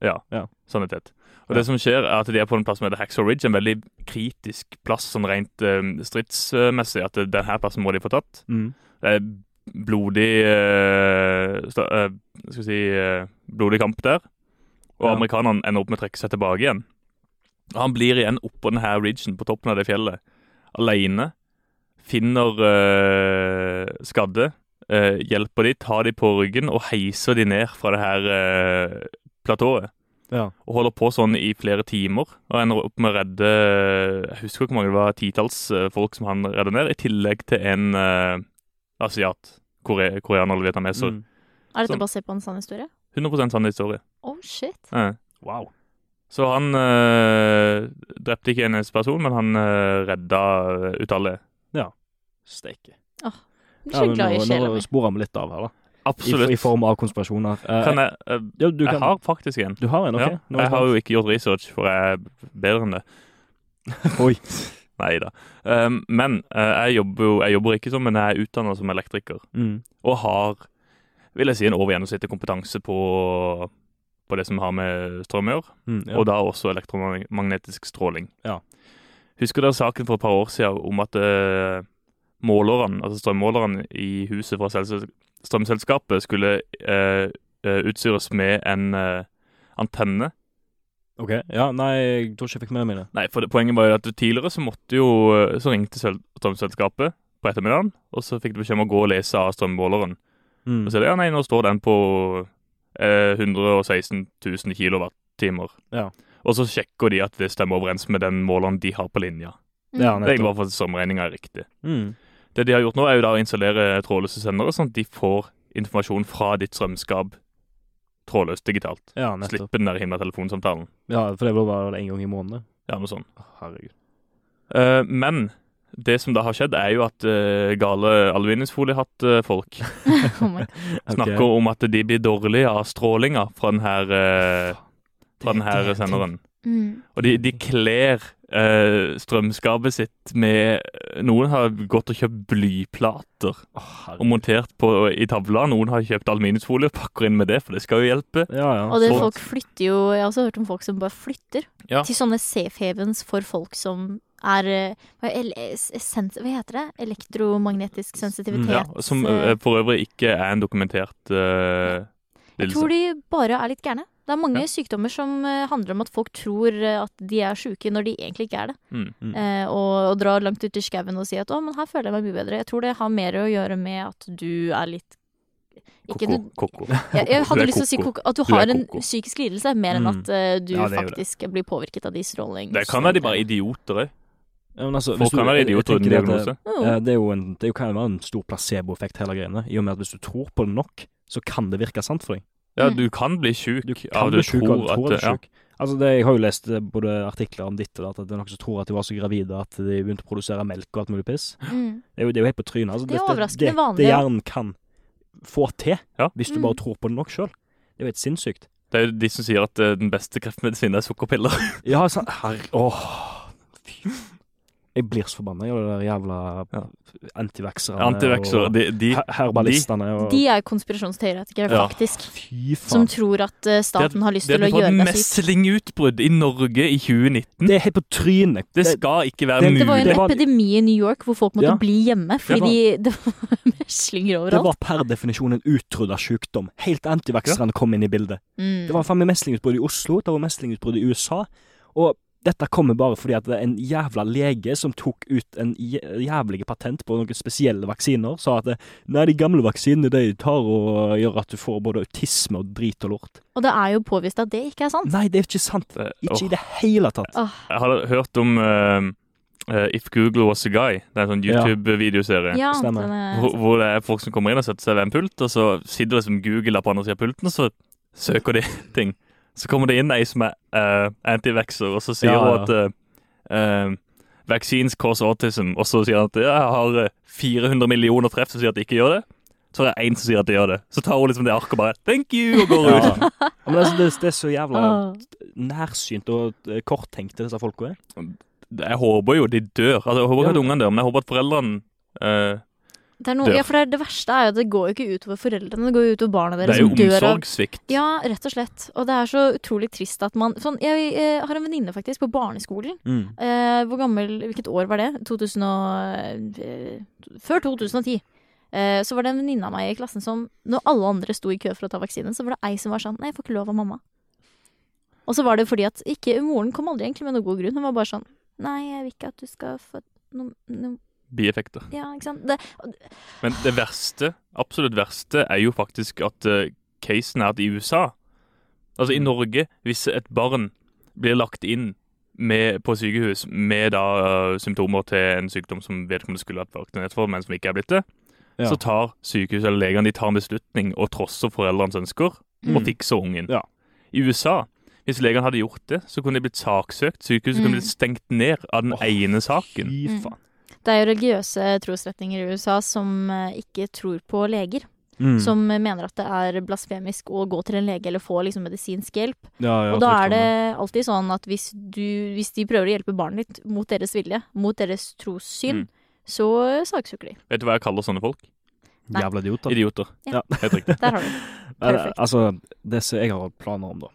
Sanitet. Ja. Og det som skjer, er at de er på en plass som heter Hacksaw Ridge, en veldig kritisk plass sånn rent eh, stridsmessig, at denne plassen må de få tatt. Mm. Det er blodig eh, sta, eh, Skal vi si eh, blodig kamp der. Og Ja. amerikanerne ender opp med å trekke seg tilbake igjen. Og han blir igjen oppå denne ridgen, på toppen av det fjellet, aleine. Finner eh, skadde, eh, hjelper de, tar de på ryggen og heiser de ned fra det her eh, platået. Ja. Og holder på sånn i flere timer, og ender opp med å redde Jeg husker ikke hvor mange det var, titalls eh, folk som han redder ned, i tillegg til en eh, asiat. Kore, koreaner eller vietnameser. Mm. Er dette Sånn. basert på en sann historie? 100 sann historie. Oh shit. Ja. Wow. Så han eh, drepte ikke en eneste person, men han eh, redda eh, utallige. Steike. Ja, Jeg men blir så glad i nå sjela nå mi. sporer vi litt av her, da. I, Absolutt. I form av konspirasjoner. Eh, Kan jeg, eh, ja, du jeg kan, har faktisk en. Du har en, OK? Nå Ja, er jeg har spent. jo ikke gjort research, for jeg er bedre enn det. Oi. Nei da. men eh, jeg, jobber, jo- jeg jobber ikke som, men jeg er utdanna som elektriker. Mm. og har, vil jeg si, en over gjennomsnittlig kompetanse på, på det som har med strøm å gjøre, Mm, ja. og da også elektromagnetisk stråling. Ja. Husker dere saken for et par år siden om at eh, målerne, altså strømmålerne i huset fra selse- strømselskapet skulle eh, eh, utstyres med en eh, antenne? OK. Ja, nei, jeg tror ikke jeg fikk med meg det. Nei, for det, poenget var jo at tidligere så måtte jo, eh, så ringte sel- strømselskapet på ettermiddagen, og så fikk de beskjed om å gå og lese av strømmåleren. Mm. Og så er det, ja, nei, nå står den på eh, 116 000 kilowattimer. Ja. Og så sjekker de at det stemmer overens med den måleren de har på linja. Ja, Det er egentlig nettopp. bare for at strømregninga er riktig. Mm. Det de har gjort nå, er jo da å installere trådløse sendere, sånn at de får informasjon fra ditt strømskap trådløst digitalt. Ja, nettopp. Slippe den der himla telefonsamtalen. Ja, for det ble bare en gang i måneden. Ja, noe sånt. Å, Herregud. Eh, men det som da har skjedd, er jo at eh, gale eh, aluminiumsfoliehatt-folk Oh my God. Ok. snakker om at de blir dårlige av strålinga fra den her eh, fra den her Det- det er senderen. Mm. Og de, de kler eh, strømskapet sitt med eh, Noen har gått og kjøpt blyplater Å, og herregud. montert på, i tavla. Noen har kjøpt aluminiumsfolie og pakker inn med det, for det skal jo hjelpe. Ja, ja. Og det så- folk flytter jo Jeg har også hørt om folk som bare flytter Ja. til sånne safe havens for folk som er eh, hva, er el eh, sens hva heter det? Elektromagnetisk sensitivitet. Ja, som eh, for øvrig ikke er en dokumentert eh, jeg tror de lidelse. bare er litt gærne. Det er mange Ja. sykdommer som eh, handler om at folk tror eh, at de er sjuke når de egentlig ikke er det. Mm. Mm. Eh, og, og drar langt ut i skauen og sier at 'å, men her føler jeg meg mye bedre'. Jeg tror det har mer å gjøre med at du er litt ikke, Koko, du, koko. jeg, jeg Du hadde er lyst til å si koko. koko, at du, Du er har en koko. psykisk lidelse, mer enn Mm. at eh, du Ja, det er jo det. faktisk blir påvirket av de stråling. Det kan være de bare idioter òg. Ja, men altså, hvis Folk du- kan være jeg- jeg idioter tenker uten det at det- diagnose. Mm. Eh, Det, er jo en, det er jo- kan jo være en stor placeboeffekt, hele greiene. I og med at hvis du tror på det nok, så kan det virke sant for deg. Ja, du kan bli sjuk Mm. Du kan av bli du sjuk av tror at du at er ja. sjuk. Altså, det, jeg har jo lest eh, både artikler om ditt og datt, at det er noen som tror at de var så gravide at de begynte å produsere melk og alt mulig piss. Mm. Det er jo, det er jo helt på trynet. Altså, Det er Dette- overraskende det, vanlig, Det ja. hjernen kan få til, Ja. hvis du Mm. bare tror på det nok sjøl. Det er jo helt sinnssykt. Det er jo de som sier at eh, den beste kreftmedisinen er sukkerpiller. Ja, sant. Herre... Åh. Fy. Jeg blir så forbanna av de der jævla Ja. antivaxerne Antivaxer. og De, de, her- herbalistene og De er konspirasjonsteoretikere, Ja. faktisk. Fy Som faen. tror at eh, staten har lyst det til å hadde fått gjøre det sitt. meslingutbrudd i Norge i 2019. Det er helt på trynet. Det skal ikke være det- mulig. Det var jo Det en var- epidemi i New York hvor folk måtte Ja. bli hjemme fordi det var, de, det var meslinger Det overalt. var per definisjon en utrydda sykdom. Helt antivakserne kom inn i bildet. mm. Det var faen meg meslingutbrudd i Oslo, det var meslingutbrudd i USA. Og Dette kommer bare fordi at det er en jævla lege som tok ut en jæ- jævlige patent på noen spesielle vaksiner. Sa at det, nei, de gamle vaksinene de tar og gjør at du får både autisme og drit og lort. Og det er jo påvist at det ikke er sant. Nei, det er ikke sant. Eh, Ikke åh. i det hele tatt. Åh, Jeg har hørt om eh, eh, If Google Was A Guy. Det er en sånn Ja. YouTube-videoserie. ja, stemmer. den er Hvor, hvor det er folk som kommer inn og setter seg ved en pult, og så sitter liksom Google der på andre siden av pulten, og så søker de ting. Så kommer det inn ei som er eh, anti-vaxxer, og så sier Ja, hun at eh, eh, Vaccines cause autism, og så sier han at ja, jeg har eh, 400 millioner treff som sier at de ikke gjør det. Så er det én som sier at de gjør det. Så tar hun liksom det arket og bare Thank you! og går ut. Ja. Men altså, det, det er så jævla Åh. nærsynt og eh, korttenkte disse folka er. Jeg håper jo de dør. Altså, jeg håper ikke Ja. at ungene dør, men jeg håper at foreldrene eh, Det, er noe, Dør. ja, for det, er- det verste er jo at det går jo ikke utover foreldrene, det går jo utover barna Det deres. er jo som dør av- omsorgssvikt. liksom Ja, rett og slett. Og det er så utrolig trist at man sånn, Jeg eh, har en venninne faktisk på barneskolen. Mm. Eh, hvor gammel Hvilket år var det? 2000 og, eh, før 2010. Eh, så var det en venninne av meg i klassen som Når alle andre sto i kø for å ta vaksinen, så var det ei som var sånn Nei, jeg får ikke lov av mamma. Og så var det fordi at ikke Moren kom aldri egentlig med noen god grunn. Hun var bare sånn Nei, jeg vil ikke at du skal få noe, noe Bieffekter. Ja, ikke sant. Det, Men det verste, absolutt verste, er jo faktisk at eh, casen er at i USA Altså i Mm. Norge, hvis et barn blir lagt inn med, på sykehus med da eh, symptomer til en sykdom som vedkommende skulle vært vaksinert for, men som ikke er blitt det, Ja. så tar sykehuset eller legene de tar en beslutning og trosser foreldrenes ønsker og fikser ungen. Mm. Ja. I USA, hvis legene hadde gjort det, så kunne de blitt saksøkt. Mm. Sykehuset kunne blitt stengt ned av den Åh, ene saken. Fy Mm. faen. det er jo religiøse trosretninger i USA som eh, ikke tror på leger. Mm. Som eh, mener at det er blasfemisk å gå til en lege eller få liksom, medisinsk hjelp. ja, ja, Og trygt da er det om alltid sånn at hvis, du, hvis de prøver å hjelpe barnet ditt mot deres vilje, mot deres trossyn, Mm. så saksøker de. Vet du hva jeg kaller sånne folk? Nei. Jævla idioter. Idioter. Ja. Helt riktig. Der har du det. Nei, Perfekt. Altså, det som jeg har planer om, da,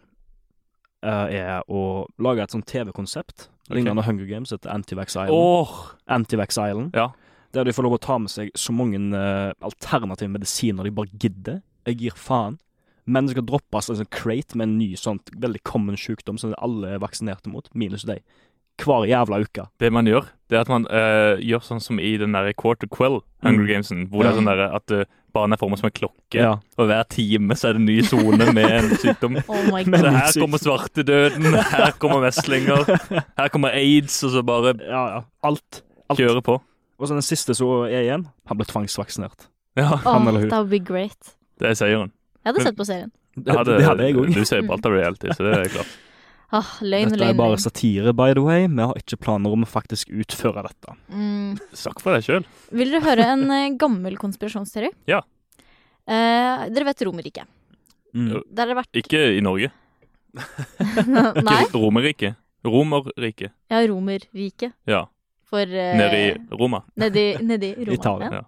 eh, er å lage et sånt TV-konsept. Ok. Lignende Hunger Games etter Antivax Island. Åh, Antivax Island. Ja. Der de får lov å ta med seg så mange eh, alternative medisiner de bare gidder. Jeg gir faen. Men det skal droppes en sånn crate med en ny sånn veldig common sykdom som alle er vaksinerte mot, minus deg. Hver jævla uke. det man gjør, det er at man eh, gjør sånn som i den der Quarter Quell, Hunger Mm. Gamesen, hvor det Ja. er sånn der at uh, barnet er formet som en klokke, Ja. og hver time så er det en ny zone med en sykdom. Oh my Men- god. Så her kommer svartedøden, her kommer meslinger, her kommer aids, og så bare Ja, ja. Alt. Alt. kjøre på. Og så den siste som er igjen, han ble tvangsvaksinert. Ja, Åh, han eller hun. that would be great. det er seieren. Jeg hadde Men- sett på serien. Det hadde, det hadde jeg òg. Du ser jo på alt av reality, så det er klart. Åh, Ah, løgn, Dette er løgn, bare løgn. satire, by the way. Vi har ikke planer om å faktisk utføre dette. Mm. Snakk for deg sjøl. Vil dere høre en eh, gammel konspirasjonsteori? Ja. Eh, dere vet Romerriket. Mm. Der har det vært Ikke i Norge. Nei? Ikke Romerriket. Romerriket. Ja, Romerriket. Ja. For eh, Nede i Roma. Nedi, nedi Roma. Italia. ja.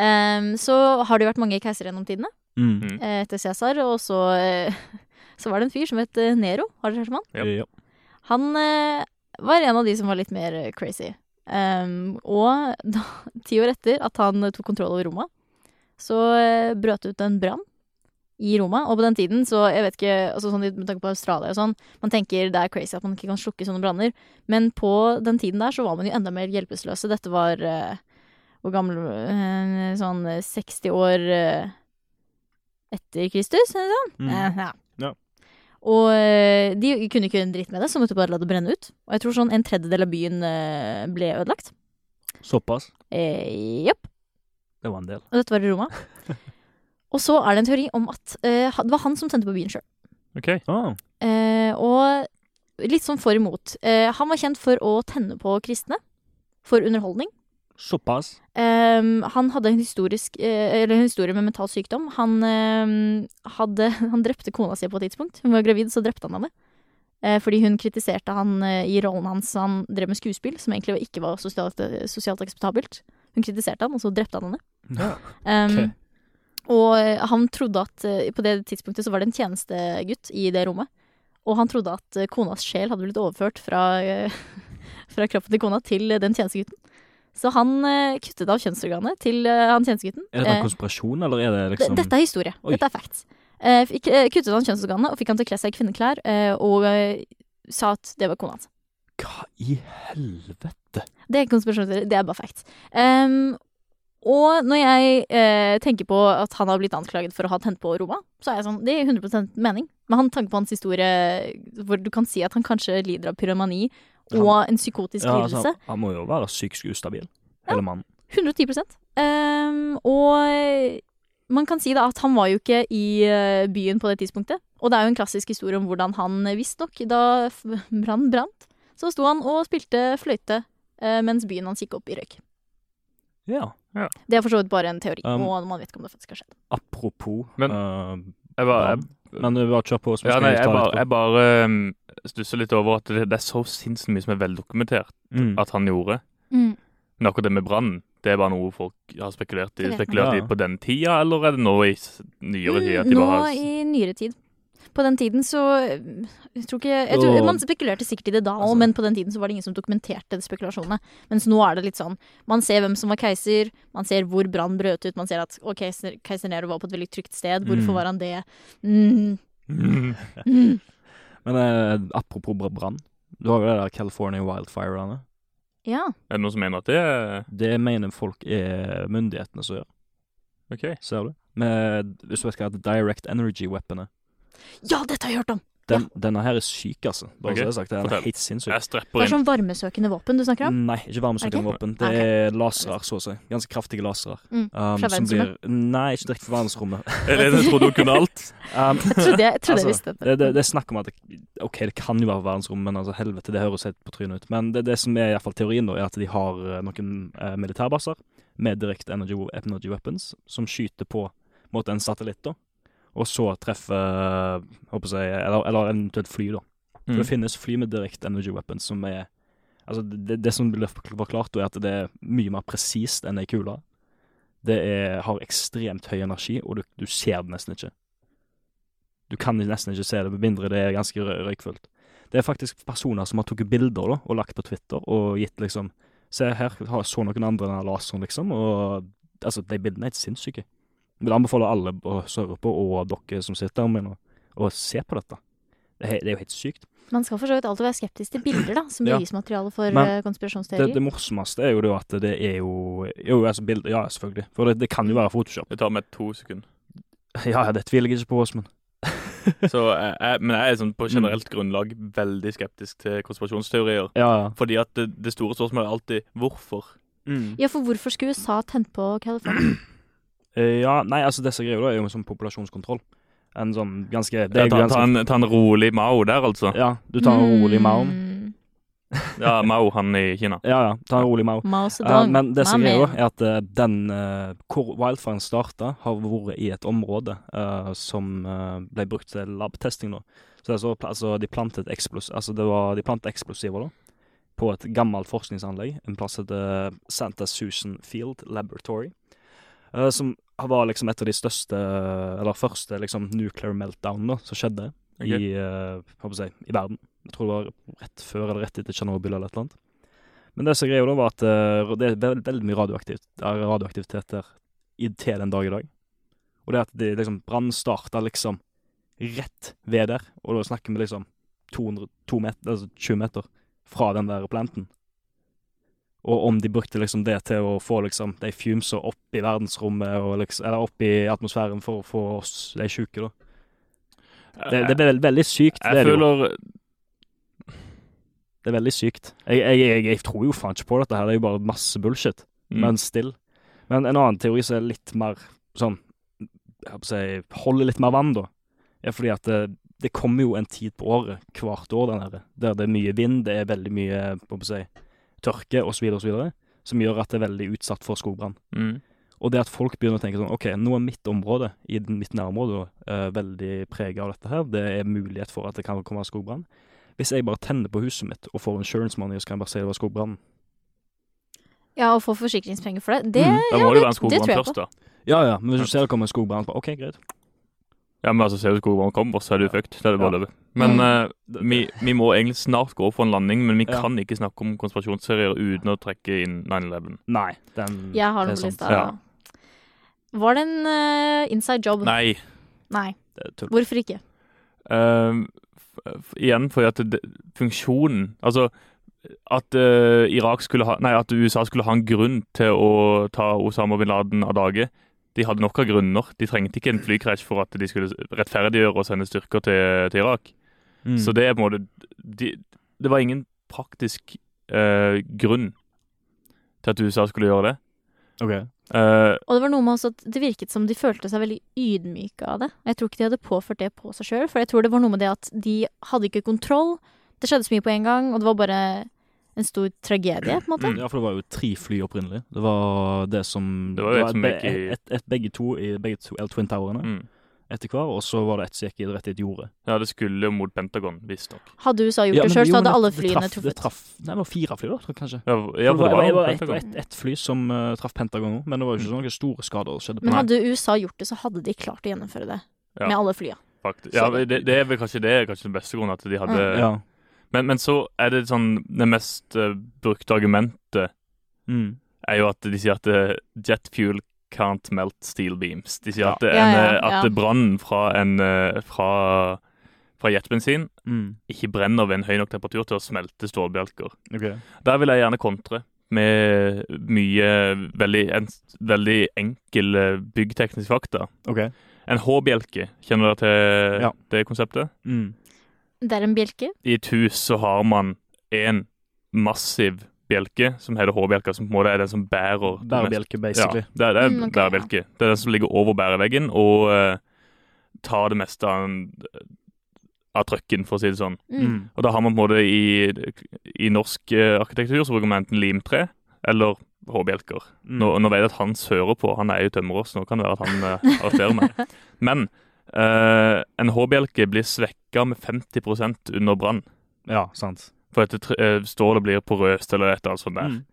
Ehm, så har det jo vært mange keisere gjennom tidene. Mm. Mm. eh, etter Cæsar, og så, eh, så var det en fyr som het eh, Nero. Har dere hørt om han? Ja. Ja. Han eh, var en av de som var litt mer eh, crazy. Ehm, og da, ti år etter at han eh, tok kontroll over Roma, så eh, brøt det ut en brann i Roma. Og på den tiden, så jeg vet ikke altså sånn, i- Med tanke på Australia og sånn, man tenker det er crazy at man ikke kan slukke sånne branner. Men på den tiden der så var man jo enda mer hjelpeløse. Dette var eh, hvor gammel eh, Sånn eh, 60 år eh, etter Kristus, eller Mm. Eh, ja. Ja. Og eh, de kunne ikke gjøre en dritt med det, så måtte de bare la det brenne ut. Og jeg tror sånn en tredjedel av byen eh, ble ødelagt. Såpass. Eh, Jepp. Det var en del. Og dette var i Roma. og så er det en teori om at eh, han- det var han som tente på byen sjøl. OK. Ah. Eh, og litt sånn for imot. Eh, han var kjent for å tenne på kristne. For underholdning. Såpass. Ehm, han hadde en, historisk, eh, eller en historie med mental sykdom. Han, ehm, hadde, han drepte kona si på et tidspunkt. Hun var gravid, så drepte han henne. Eh, fordi hun kritiserte han eh, i rollen hans. Han drev med skuespill, som egentlig ikke var sosialt, eh, sosialt akseptabelt. Hun kritiserte han, og så drepte han henne. Ja. Ehm, Ok. Og eh, han trodde at eh, På det tidspunktet så var det en tjenestegutt i det rommet. Og han trodde at eh, konas sjel hadde blitt overført fra, eh, fra kroppen til kona til eh, den tjenestegutten. Så han eh, kuttet av kjønnsorganet til eh, han tjenestegutten. Er det Eh, en konspirasjon, eller er det liksom D- Dette er historie. Oi. Dette er facts. Eh, fikk, eh, kuttet han kjønnsorganet og fikk han til å kle seg i kvinneklær, eh, og eh, sa at det var kona hans. Hva i helvete? Det er ikke konspirasjonsteori, det er bare facts. Ehm, og når jeg eh, tenker på at han har blitt anklaget for å ha tent på Roma, så er jeg sånn, det gir 100 mening. Men han tanke på hans historie, hvor du kan si at han kanskje lider av pyromani og en psykotisk Ja, altså, lidelse, han må jo være psykisk ustabil, hele mannen. 110 Ehm, Og man kan si da at han var jo ikke i eh, byen på det tidspunktet. Og det er jo en klassisk historie om hvordan han eh, visstnok, da f- brannen brant, så sto han og spilte fløyte eh, mens byen hans gikk opp i røyk. Ja. Det er for så vidt bare en teori, Um, og man vet ikke om det faktisk har skjedd. Apropos Men- eh, Jeg bare, jeg, Men du bare kjør på. Så ja, skal nei, jeg jeg ta bare, litt jeg bare um, stusser litt over at det, det er så sinnssykt mye som er veldokumentert på. Mm. at han gjorde. Men akkurat det med brannen, det er bare noe folk har spekulert i. Det vet man. Spekulert Ja. i på den tida, eller er det nå i s- nyere tid? at de Nå bare har... i nyere tid. På den tiden så mm, jeg tror ikke, jeg tror, Og- Man spekulerte sikkert i det da òg, Altså- men på den tiden så var det ingen som dokumenterte de spekulasjonene. Mens nå er det litt sånn Man ser hvem som var keiser, man ser hvor brannen brøt ut, man ser at å, keiser, keiser Nero var på et veldig trygt sted, Mm. hvorfor var han det? Mm, Mm. mm. Men eh, apropos br- brann. Du har jo det der California wildfirene. Ja. Er det noen som mener at det er Det mener folk er myndighetene som gjør, OK? ser du. Med, hvis du vet hva det heter, direct energy weapon er. ja, dette har jeg hørt om! Den, Denne her er syk, altså. Bare Ok, så det er sagt. Den fortell. er helt sinnssyk. Jeg Det strepper er inn. sånn varmesøkende våpen du snakker om? Nei, ikke varmesøkende Ok. våpen. Det Ok. er laserer, så å si. Ganske kraftige laserer. Mm, Um, fra som blir, nei, ikke direkte fra verdensrommet. sånn- Elene trodde hun kunne alt. Um, Jeg trodde jeg, jeg, trodde jeg Altså, visste det, det, dette. det er snakk om at det, OK, det kan jo være verdensrom, men altså, helvete, det høres helt på trynet ut. Men det, det som er i hvert fall teorien, da, er at de har eh, noen eh, militærbaser med direkte energy, wo- energy weapons som skyter på på en måte, en satellitt, da. Og så treffer eh, håper jeg, eller, eller eventuelt fly, da. For Mm. Mm. det finnes fly med direkte energy weapons som er Altså, det, det som blir forklart, da, er at det er mye mer presist enn ei kule. Det er, har ekstremt høy energi, og du, du ser det nesten ikke. Du kan nesten ikke se det, med mindre det er ganske rø- røykfullt. Det er faktisk personer som har tatt bilder da, og lagt på Twitter og gitt liksom Se her, har- så noen andre den her laseren, liksom. Og altså, de bildene er helt sinnssyke. Jeg vil anbefale alle å høre på, og dere som sitter her med nå, å se på dette. Det er, det er jo helt sykt. Man skal for så vidt alltid være skeptisk til bilder, da, som Ja. bevismateriale for Men- eh, Det, konspirasjonsteorier. det morsomste er jo det at det er jo Jo, altså bilder Ja, selvfølgelig. For det, det kan jo være Photoshop. Det tar meg to sekunder. Mm. Ja, ja, det tviler jeg ikke på, Åsmund. Så jeg, jeg, men jeg er sånn på generelt Mm. grunnlag veldig skeptisk til konspirasjonsteorier. Ja, ja. Fordi at det, det store spørsmålet er alltid hvorfor. Mm. Ja, for hvorfor skulle USA tent på California? Eh, ja, nei, altså disse greiene da er jo en sånn populasjonskontroll. En sånn ganske Det Ja, er jo ta, ta, ganske en, ta en rolig Mao der, altså. Ja, du tar en rolig Mao. Mm, Ja, Mao, han i Kina. Ja, ja, ta en rolig Mao. Mao Zedong. Eh, men det som my er greia, man. er at eh, den eh, hvor wildfiren starta, har vært i et område eh, som eh, ble brukt til labtesting. da. Så det er så, pla- altså, de plantet eksplos altså, det var, de plantet eksplosiver da, på et gammelt forskningsanlegg, en plass som heter Santa Susan Field Laboratory, eh, som var liksom et av de største, eller første liksom, nuclear meltdown da, som skjedde Ok. i, eh, hva skal jeg si, i verden. Jeg tror det var rett før eller rett etter Tsjernobyl eller et eller annet. Men det som er greia da, var at eh, det er veld, veldig mye radioaktivt, er radioaktivitet der i, til den dag i dag. Og det at det liksom brann starta liksom rett ved der, og da snakker vi liksom 200, to meter, altså 20 meter fra den der planten. Og om de brukte liksom det til å få liksom de fumesa opp i verdensrommet, og liksom, eller opp i atmosfæren for å få oss de sjuke, da. Det, det er veld, veldig sykt. jeg det er det jo. føler Det er veldig sykt. Jeg, jeg, jeg, jeg tror jo faen ikke på dette her, det er jo bare masse bullshit. Mm. Men still. Men en annen teori som er litt mer sånn Jeg holdt på å si holder litt mer vann, da, er fordi at det, det kommer jo en tid på året, hvert år, den her, der det er mye vind, det er veldig mye jeg holdt på å si, tørke osv., osv., som gjør at det er veldig utsatt for skogbrann. mm. Og det at folk begynner å tenke sånn OK, nå er mitt område i den- mitt nærområde eh, veldig prega av dette her. Det er mulighet for at det kan komme skogbrann. Hvis jeg bare tenner på huset mitt og får insurance money, så kan jeg bare si det var skogbrann. Ja, å få forsikringspenger for det, det Mm, ja, Da må det det- jo være en det tror skogbrann jeg først, da. Ja ja, men hvis du ser det kommer en skogbrann, så bare OK, greit. Ja, men altså, ser du skogbrann kommer, så er du fucked. Da er det bare Ja. å løpe. Men Mm. eh, vi, vi må egentlig snart gå for en landing, men vi Ja. kan ikke snakke om konspirasjonsserier uten å trekke inn 9-11. Nei, den Jeg har det den er på sant. lista. Ja. Var det en eh, inside job? Nei. Nei. Det er tull. Hvorfor ikke? Ehm, eh, f f igjen fordi at det, funksjonen Altså, at, eh, Irak skulle ha, nei, at USA skulle ha en grunn til å ta Osama bin Laden av dage. De hadde nok av grunner. De trengte ikke en flykrasj for at de skulle rettferdiggjøre og sende styrker til, til Irak. Så det er på en måte de, Det var ingen praktisk eh, grunn til at USA skulle gjøre det. OK. Eh, Og det var noe med også at det virket som de følte seg veldig ydmyke av det. Og jeg tror ikke de hadde påført det på seg sjøl, for jeg tror det var noe med det at de hadde ikke kontroll. Det skjedde så mye på en gang, og det var bare en stor tragedie, på en måte. Ja, for det var jo tre fly opprinnelig. Det var det som Det var jo et som be- gikk i- et, et, begge to i begge to L Twin Towerne mm. etter hver, og så var det ett som gikk i rett i et jorde. Ja, det skulle jo mot Pentagon, visstnok. Hadde USA gjort Ja, men- det sjøl, jo, så men hadde alle det- flyene det traff, Det truffet. traff Nei, det var fire fly, da, tror jeg kanskje. Ja, ja, For for det var jo ett Pentagon. et, et fly som eh, traff Pentagon òg, men det var jo ikke sånne store skader. som skjedde på Men Nei. hadde USA gjort det, så hadde de klart å gjennomføre det. Ja. Med alle flya. Faktisk. Ja, det, det er vel kanskje det er kanskje den beste grunnen at de hadde ja. men, men så er det sånn Det mest eh, brukte argumentet Mm. er jo at de sier at eh, jet fuel can't melt steel beams. De sier at, det er Ja, en, ja, eh, at ja. brannen fra, en, eh, fra, fra jetbensin Mm. ikke brenner ved en høy nok temperatur til å smelte stålbjelker. OK. Der vil jeg gjerne kontre med mye veldig, en, veldig enkel eh, byggteknisk fakta. ok. En H-bjelke, kjenner dere til Ja. det konseptet? Mm. Det er en bjelke. I et hus så har man en massiv bjelke, som heter H-bjelka, som på en måte er den som bærer det meste- Bærebjelke, basically. Ja, det er, det er Mm, ok, bærebjelke. Det er den som ligger over bæreveggen og eh, tar det meste av, en- av trøkken, for å si det sånn. Mm. Mm. Og da har man på en måte i, i norsk eh, arkitektur så bruker man enten limtre eller hårbjelker. Mm. Nå, nå vet jeg at Hans hører på, han er jo tømrer, så nå kan det være at han eh, arresterer meg. Men eh, en hårbjelke blir svekka med 50 under brann. Ja, sant. For at det tr- eh, stålet blir porøst eller et eller annet sånt der. Mm.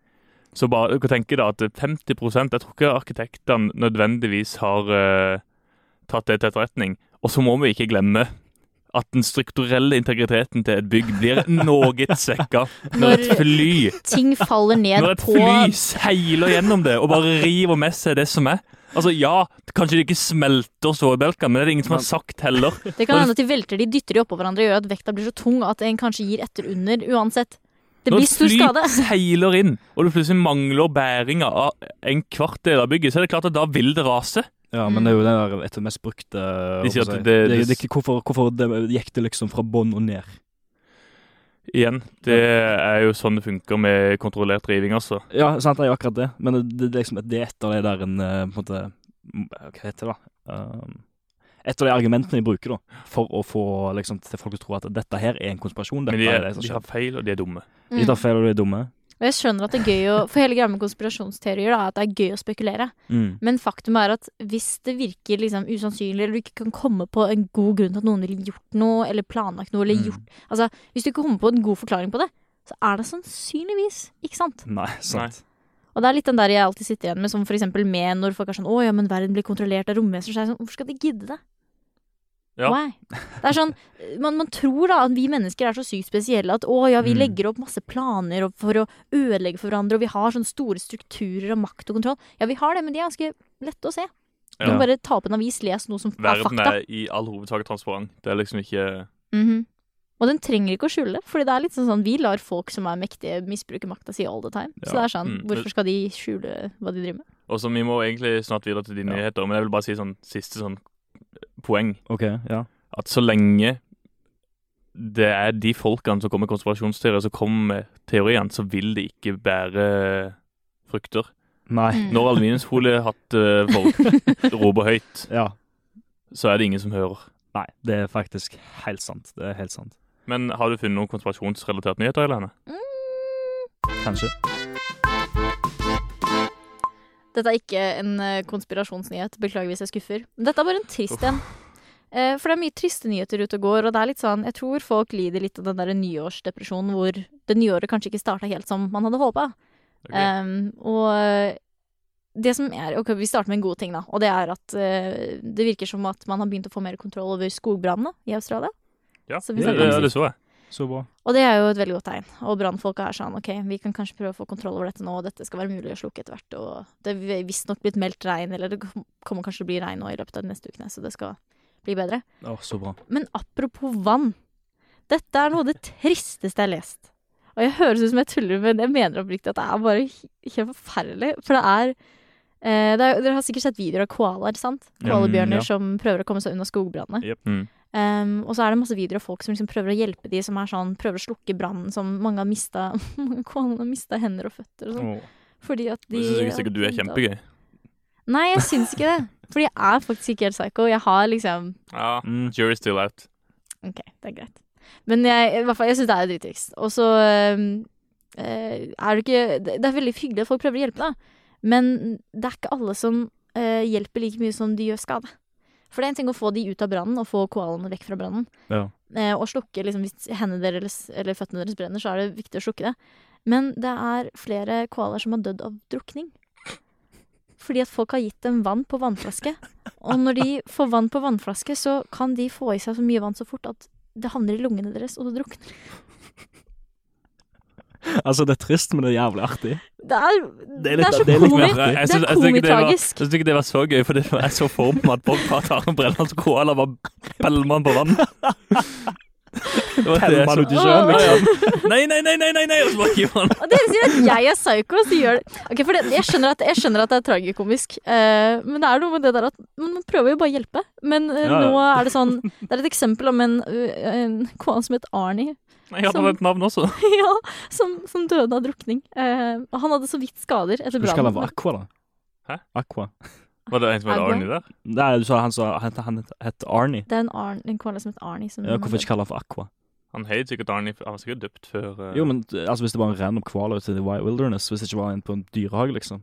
Så bare du kan tenke deg at 50 Jeg tror ikke arkitektene nødvendigvis har eh, tatt det til etterretning. Og så må vi ikke glemme at den strukturelle integriteten til et bygg blir noe svekka når et Når- fly Ting faller ned når et på fly seiler gjennom det og bare river med seg det som er. Altså ja, kanskje det ikke smelter stålbjelker, men det er det ingen som har sagt heller. Det kan hende at de velter de, dytter de oppå hverandre, gjør at vekta blir så tung at en kanskje gir etter under. Uansett. Det Når blir et stor skade. fly seiler inn, og du plutselig mangler bæringa av en kvart del av bygget, så er det klart at da vil det rase. Ja, men det er jo det der et av de mest brukte eh, De sier hva skal at jeg si. det- det, det- det, er ikke- hvorfor, hvorfor det, gikk det liksom fra bånn og ned? Igjen, det er jo sånn det funker med kontrollert riving, altså. Ja, sant, det er jo akkurat det, men det, det, er liksom, det er et av de der en eh, på en måte m- Hva heter det, da? Um, et av de argumentene de bruker da, for å få liksom, til folk til å tro at dette her er en konspirasjon. Dette Men de, er, er, det som de har skjer. feil, og de er dumme. Mm. De tar feil, og de er dumme. Og jeg skjønner at det er gøy å For hele greia med konspirasjonsteorier da, er at det er gøy å spekulere. Mm. Men faktum er at hvis det virker liksom usannsynlig, eller du ikke kan komme på en god grunn til at noen ville gjort noe, eller planlagt noe, eller Mm. gjort Altså, hvis du ikke kommer på en god forklaring på det, så er det sannsynligvis ikke sant. Nei, sant. Og det er litt den der jeg alltid sitter igjen med, som for eksempel med når folk er sånn Å ja, men verden blir kontrollert av romvesener, så er jeg sånn Hvorfor skal de gidde det? Ja. Why? Det er sånn, man, man tror da at vi mennesker er så sykt spesielle at å ja, vi Mm. legger opp masse planer og- for å ødelegge for hverandre, og vi har sånne store strukturer av makt og kontroll. Ja, vi har det, men de er ganske lette å se. Du Ja. må bare ta opp en avis, les noe som er Verden fakta. er i all hovedsak transparent. Det er liksom ikke Mhm. Og den trenger ikke å skjule, fordi det er litt sånn sånn, vi lar folk som er mektige, misbruke makta si all the time. Så det Ja. er sånn, Mm. hvorfor skal de skjule hva de driver med? Og så vi må egentlig snart videre til de Ja. nyheter, men jeg vil bare si sånn siste sånn poeng. OK, ja. At så lenge det er de folkene som kommer med konspirasjonsteorier, som kommer med teoriene, så vil de ikke bære frukter. Nei. Mm. Når aluminiumsfoliehattfolk roper høyt, Ja. så er det ingen som hører. Nei, det er faktisk helt sant. Det er helt sant. Men har du funnet noen konspirasjonsrelaterte nyheter, Helene? Kanskje. Dette er ikke en eh, konspirasjonsnyhet, beklager hvis jeg skuffer. Men dette er bare en trist Uff. en. Eh, For det er mye triste nyheter ute og går, og det er litt sånn, jeg tror folk lider litt av den der nyårsdepresjonen hvor det nye året kanskje ikke starta helt som man hadde håpa. Ok. Um, og det som er Ok, vi starter med en god ting, da. Og det er at eh, det virker som at man har begynt å få mer kontroll over skogbrannene i Australia. Ja, Så vi det, snakker det, om- det så jeg. Så bra. Og det er jo et veldig godt tegn. Og brannfolka er sånn OK, vi kan kanskje prøve å få kontroll over dette nå, og dette skal være mulig å slukke etter hvert. Og det er visstnok blitt meldt regn, eller det kom- kommer kanskje til å bli regn nå i løpet av de neste ukene, så det skal bli bedre. Å, så bra. Men apropos vann. Dette er noe av det tristeste jeg har lest. Og Og jeg høres ut som jeg tuller, men jeg mener oppriktig at det er bare he- helt forferdelig. For det er, eh, det er Dere har sikkert sett videoer av koalaer, sant? Ja. Mm, Koalabjørner ja. som prøver å komme seg unna skogbranner. Mm. Em, Ehm, og så er det masse videoer av folk som liksom prøver å hjelpe de som er sånn, prøver å slukke brannen, som mange har mista Koalene har mista hender og føtter og sånn. Åh. Fordi at de Det syns jeg sikkert du er kjempegøy. Nei, jeg syns ikke det. Fordi jeg er faktisk ikke helt psycho. Jeg har liksom Ja, Mm. Jury's still out. OK, det er greit. Men jeg, i hvert fall, jeg syns det er drittrist. Og så øhm, øh, er det ikke Det det er veldig hyggelig at folk prøver å hjelpe, da. Men det er ikke alle som øh, hjelper like mye som de gjør skade. For det er en ting å få de ut av brannen, og få koalaene vekk fra brannen. Ja. Eh, og slukke liksom, Hvis hendene deres eller føttene deres brenner, så er det viktig å slukke det. Men det er flere koalaer som har dødd av drukning. Fordi at folk har gitt dem vann på vannflaske. Og når de får vann på vannflaske, så kan de få i seg så mye vann så fort at det havner i lungene deres, og så drukner de. Altså, det er trist, men det er jævlig artig. Det er, Det er det litt- er så det er litt Men mer- komisk! artig. jeg Det er synes- jeg synes ikke det var- komitragisk. Jeg syns ikke det var så gøy, for det var jeg så for meg at Bob bare tar en brenne og koala bare peller man på vann. Det var det jeg Pælmann så. ut i sjøen, Ja, liksom. ja. Nei, nei, nei, nei, nei, nei! Og så bare hiver han. Og dere sier at jeg er psycho, så gjør det Ok, for det, jeg, skjønner at, jeg skjønner at det er tragikomisk, eh, men det er noe med det der at man man prøver jo bare å hjelpe. Men eh, Ja, ja. nå er det sånn Det er et eksempel om en, uh, en kone som het Arnie, Nei, han hadde et navn også. ja, som, som døde av drukning. Eh, og han hadde så vidt skader etter Du skal kalle brannen. han for Aqua, da. Hæ? Aqua. Var det en som het Agua. Arnie der? Nei, du sa han sa han, han het- het Arnie. Det er en, Arn, en koala som het Arnie. Som Ja, hvorfor ikke kalle han for Aqua? Han het sikkert Arnie, han var sikkert døpt før eh, Jo, men eh, altså, hvis det var en random koala ute i the wild wilderness, hvis det ikke var en på en dyrehage, liksom.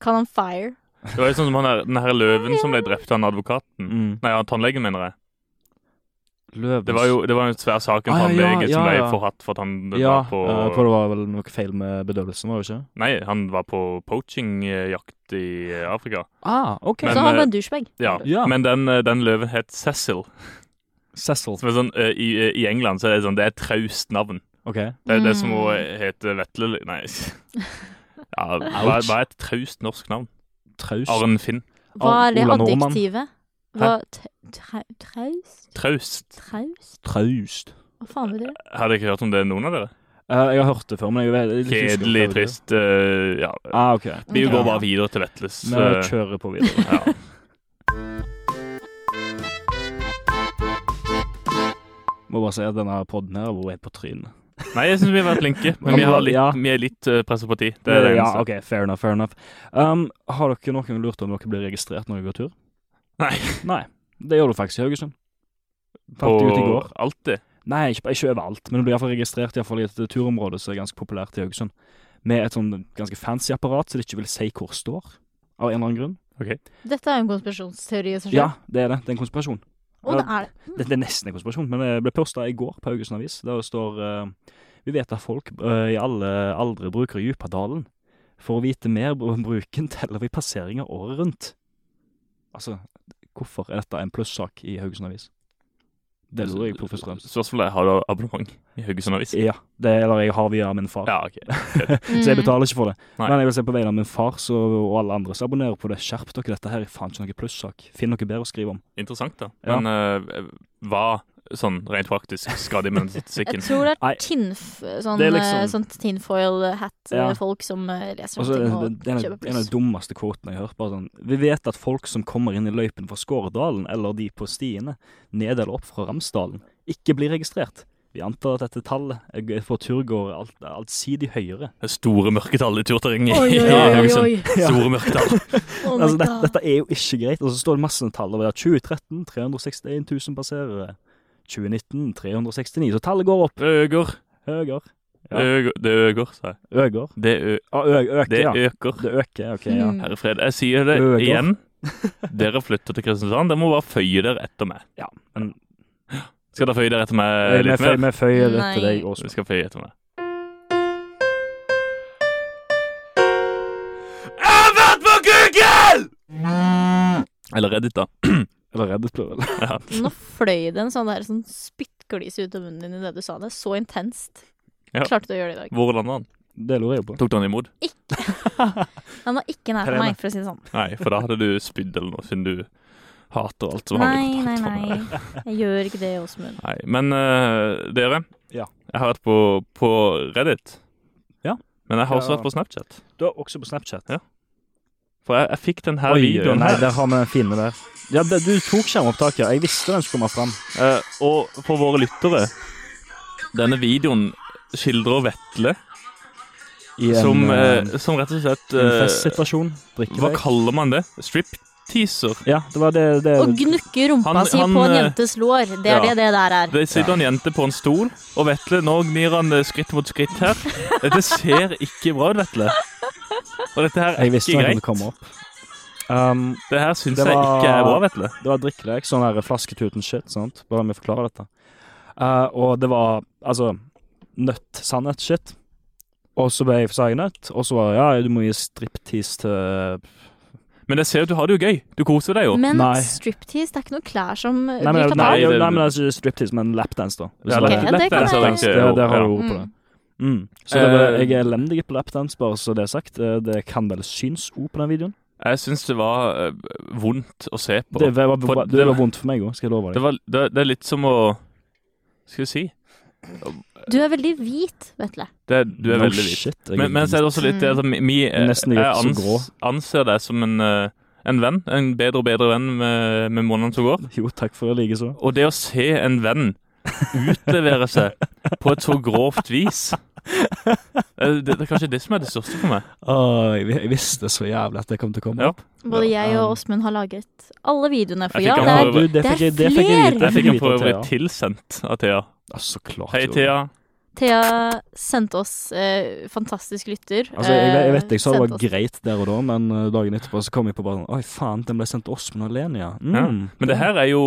Kall han Fire. Det var jo sånn som han der, den her løven som ble drept av den advokaten. Mm. Nei, han tannlegen, mener jeg. Løvens Det var jo det var en svær sak om Ah, ja, ja, tannlege som ja, ble ja. forhatt for at han Ja, eh, var på jeg tror det var vel noe feil med bedøvelsen, var det ikke? Nei, han var på poaching-jakt i eh, Afrika. Ah, ok. Men, så han eh, var en douchebag. Ja, Ja. Men den, eh, den løven het Cecil. Cecil. Som er sånn, eh, i, eh, I England så er det sånn, det er et traust navn. Ok. Det er det Mm. som å hete Vetle Nei. Ja, hva, Ouch. hva er et traust norsk navn? Traust. Arn Finn. Hva er det Ola Nordmann. adjektivet? Hva t- tra- Traust? Traust. Traust? Traust. Hva faen betyr det? Har dere ikke hørt om det, noen av dere? Eh, jeg har hørt det før, men jeg vet jeg er litt usikker på hva Kjedelig, det trist eh, Ja. betyr. Ah, ok. Vi Ok. går bare videre til Vetles. Vi eh, kjører på videre. ja. Må bare si at denne podden her har vært helt på trynet. Nei, jeg syns vi har vært flinke, men vi, har litt, Ja. vi er litt uh, presset på tid. Det er det ja, eneste. ok, fair enough, fair enough. Um, har dere noen gang lurt om dere blir registrert når dere går tur? Nei. Nei, det gjør du faktisk i Haugesund. Fant På jeg ut i går. alltid. Nei, ikke, ikke overalt, men du blir iallfall registrert i, hvert fall i et turområde som er ganske populært i Haugesund. Med et sånn ganske fancy apparat som de ikke vil si hvor står, av en eller annen grunn. Dette er jo en konspirasjonsteori. i seg selv. Ja, det er det. Det er en konspirasjon. Og det er det. Det, det er nesten en konspirasjon, men det ble posta i går på Haugesund Avis. Der det står eh, Vi vet at folk eh, i alle aldre bruker Djupadalen. For å vite mer om bruken teller vi passeringer året rundt. Altså, hvorfor er dette en plussak i Haugesund Avis? Det lurer jeg på først og fremst. Spørsmålet er har du abonnement i Haugesund Avis. Ja, det eller jeg har via min far. Ja, ok. Så jeg betaler ikke for det. Nei. Men jeg vil se på vegne av min far så, og alle andre som abonnerer på det. Skjerp dere, dette her er faen ikke noe plussak. Finn noe bedre å skrive om. Interessant, da. Ja. Men eh, hva, sånn rent faktisk, skal de med den Mm. Jeg statistikken? tror det Nei. er tinf, sånn, Det er eh, liksom- sånn tinfoil Ja. hat-folk som eh, Og leser om så er ting det, og det, det er en, kjøper en av pluss. de dummeste kvotene jeg har hørt. Bare sånn, vi vet at folk som kommer inn i løypen fra Skåredalen, eller de på stiene, ned eller opp fra Ramsdalen, ikke blir registrert. Vi antar at dette tallet er g- for turgåere alt, allsidig høyere. Det er Store mørketall i turterrenget Oi, i oi, Ja, oi, Haugesund. oi. Ja. Store mørketall. Oh my altså, det, God. dette er jo ikke greit. Og så står det masse tall over det. 2013 361 000 passerere. 2019 369. Så tallet går opp. Det øker. Høyere. Ja. Ø- Det øker, sa jeg. Øger. Det, ø Ah, ø øker, det ja. øker. Det øker, ok, ja. Mm. Herre fred, jeg sier det Øker. igjen. Dere flytter til Kristiansand. Dere må bare føye dere etter meg. Ja, men- Skal dere føye dere etter meg Vi Eh, litt føy- mer? vi føyer det til Nei. deg, Åsmund. Vi skal føye etter meg. Jeg har vært på Google! Eller Reddit, da. Eller Reddit, plural. Ja. Nå fløy det en sånn, der sånn spyttglis ut av munnen din i det du sa det. Så intenst. Ja. Klarte du å gjøre det i dag. Hvor landa han? Det lurer jeg på. Tok du han imot? Han var ikke nær på Helene. meg, for å si det sånn. Nei, for da hadde du spydd eller noe, siden du hater alt som Nei, handler om nei, kontakt. nei. Jeg gjør ikke det, Åsmund. Nei, Men eh, dere, Ja. Jeg har vært på, på Reddit. Ja. Men jeg har Ja. også vært på Snapchat. Du er også på Snapchat. Ja. For jeg, jeg fikk den her videoen nei, her. der har vi den fine der. Ja, det, du tok skjermopptaket. Jeg visste den skulle komme fram. Eh, og for våre lyttere Denne videoen skildrer Vetle I en, som, eh, eh, som rett og slett en eh, festsituasjon. Hva Drikkevei. kaller man det? Stripteaser. Ja, det var det, det Å gnukke rumpa Han- si han, på en eh, jentes lår, det er ja. det det der er. Det sitter en jente på en stol, og Vetle, nå gnir han eh, skritt mot skritt her. Dette ser ikke bra ut, Vetle. Og dette her Jeg er visste ikke den greit. kunne komme opp. Um, Det her syns Det jeg var- ikke er bra, Vetle. det var drikkelek, sånn der flasketuten shit, sant. Bare vi forklarer dette. Eh, og det var altså nøtt, sannhet, shit. Og så ble jeg sa jeg nøtt, og så var det ja, du må gi striptease til Men jeg ser jo at du har det jo gøy. Du koser deg jo. Men Nei. striptease, det er ikke noe klær som Nei, men, blir tatt nei, av. jo, det- nei, men det er ikke striptease, men lapdance, da. Hvis Ja, det er- Ok, det kan jeg- lapdance er ikke- Det, det har du ja. ord på det. Mm. Så Eh, det var, jeg er elendig på lapdance, bare så det er sagt. Eh, Det kan vel synes ord på den videoen. Jeg syns det var eh, vondt å se på. Det var, det på- var, det var vondt for meg òg, skal jeg love Det, deg. var, det, det er litt som å Skal vi si Du er veldig hvit, Vetle. det, er- Du er No veldig hvit. shit, jeg er Men, men så er det også litt det at vi eh, Nesten Jeg litt så grå. anser deg som en, eh, en venn. En bedre og bedre venn med, med månedene som går. Jo, takk for det likeså. Og det å se en venn utlevere seg på et så grovt vis eh, det, det er kanskje det som er det største for meg. Åh, jeg, jeg visste så jævlig at det kom til å komme Ja. opp. Både Ja, jeg og um, Åsmund har laget alle videoene. For Jeg ja, fikk det han er, du, over- det det er fikk jeg, det fikk jeg vite. flere! det Jeg fikk jeg den for vite av øvrig Thea. tilsendt av Thea. Ja, så klart. Hei, jo. Thea. Thea sendte oss eh, fantastisk lytter. Altså, jeg, jeg vet jeg sa det Eh, var sendte oss- greit der og da, men eh, dagen etterpå så kom jeg på bare sånn Oi, faen, den ble sendt til Åsmund og Lene, ja. Mm. Ja, Men det her er jo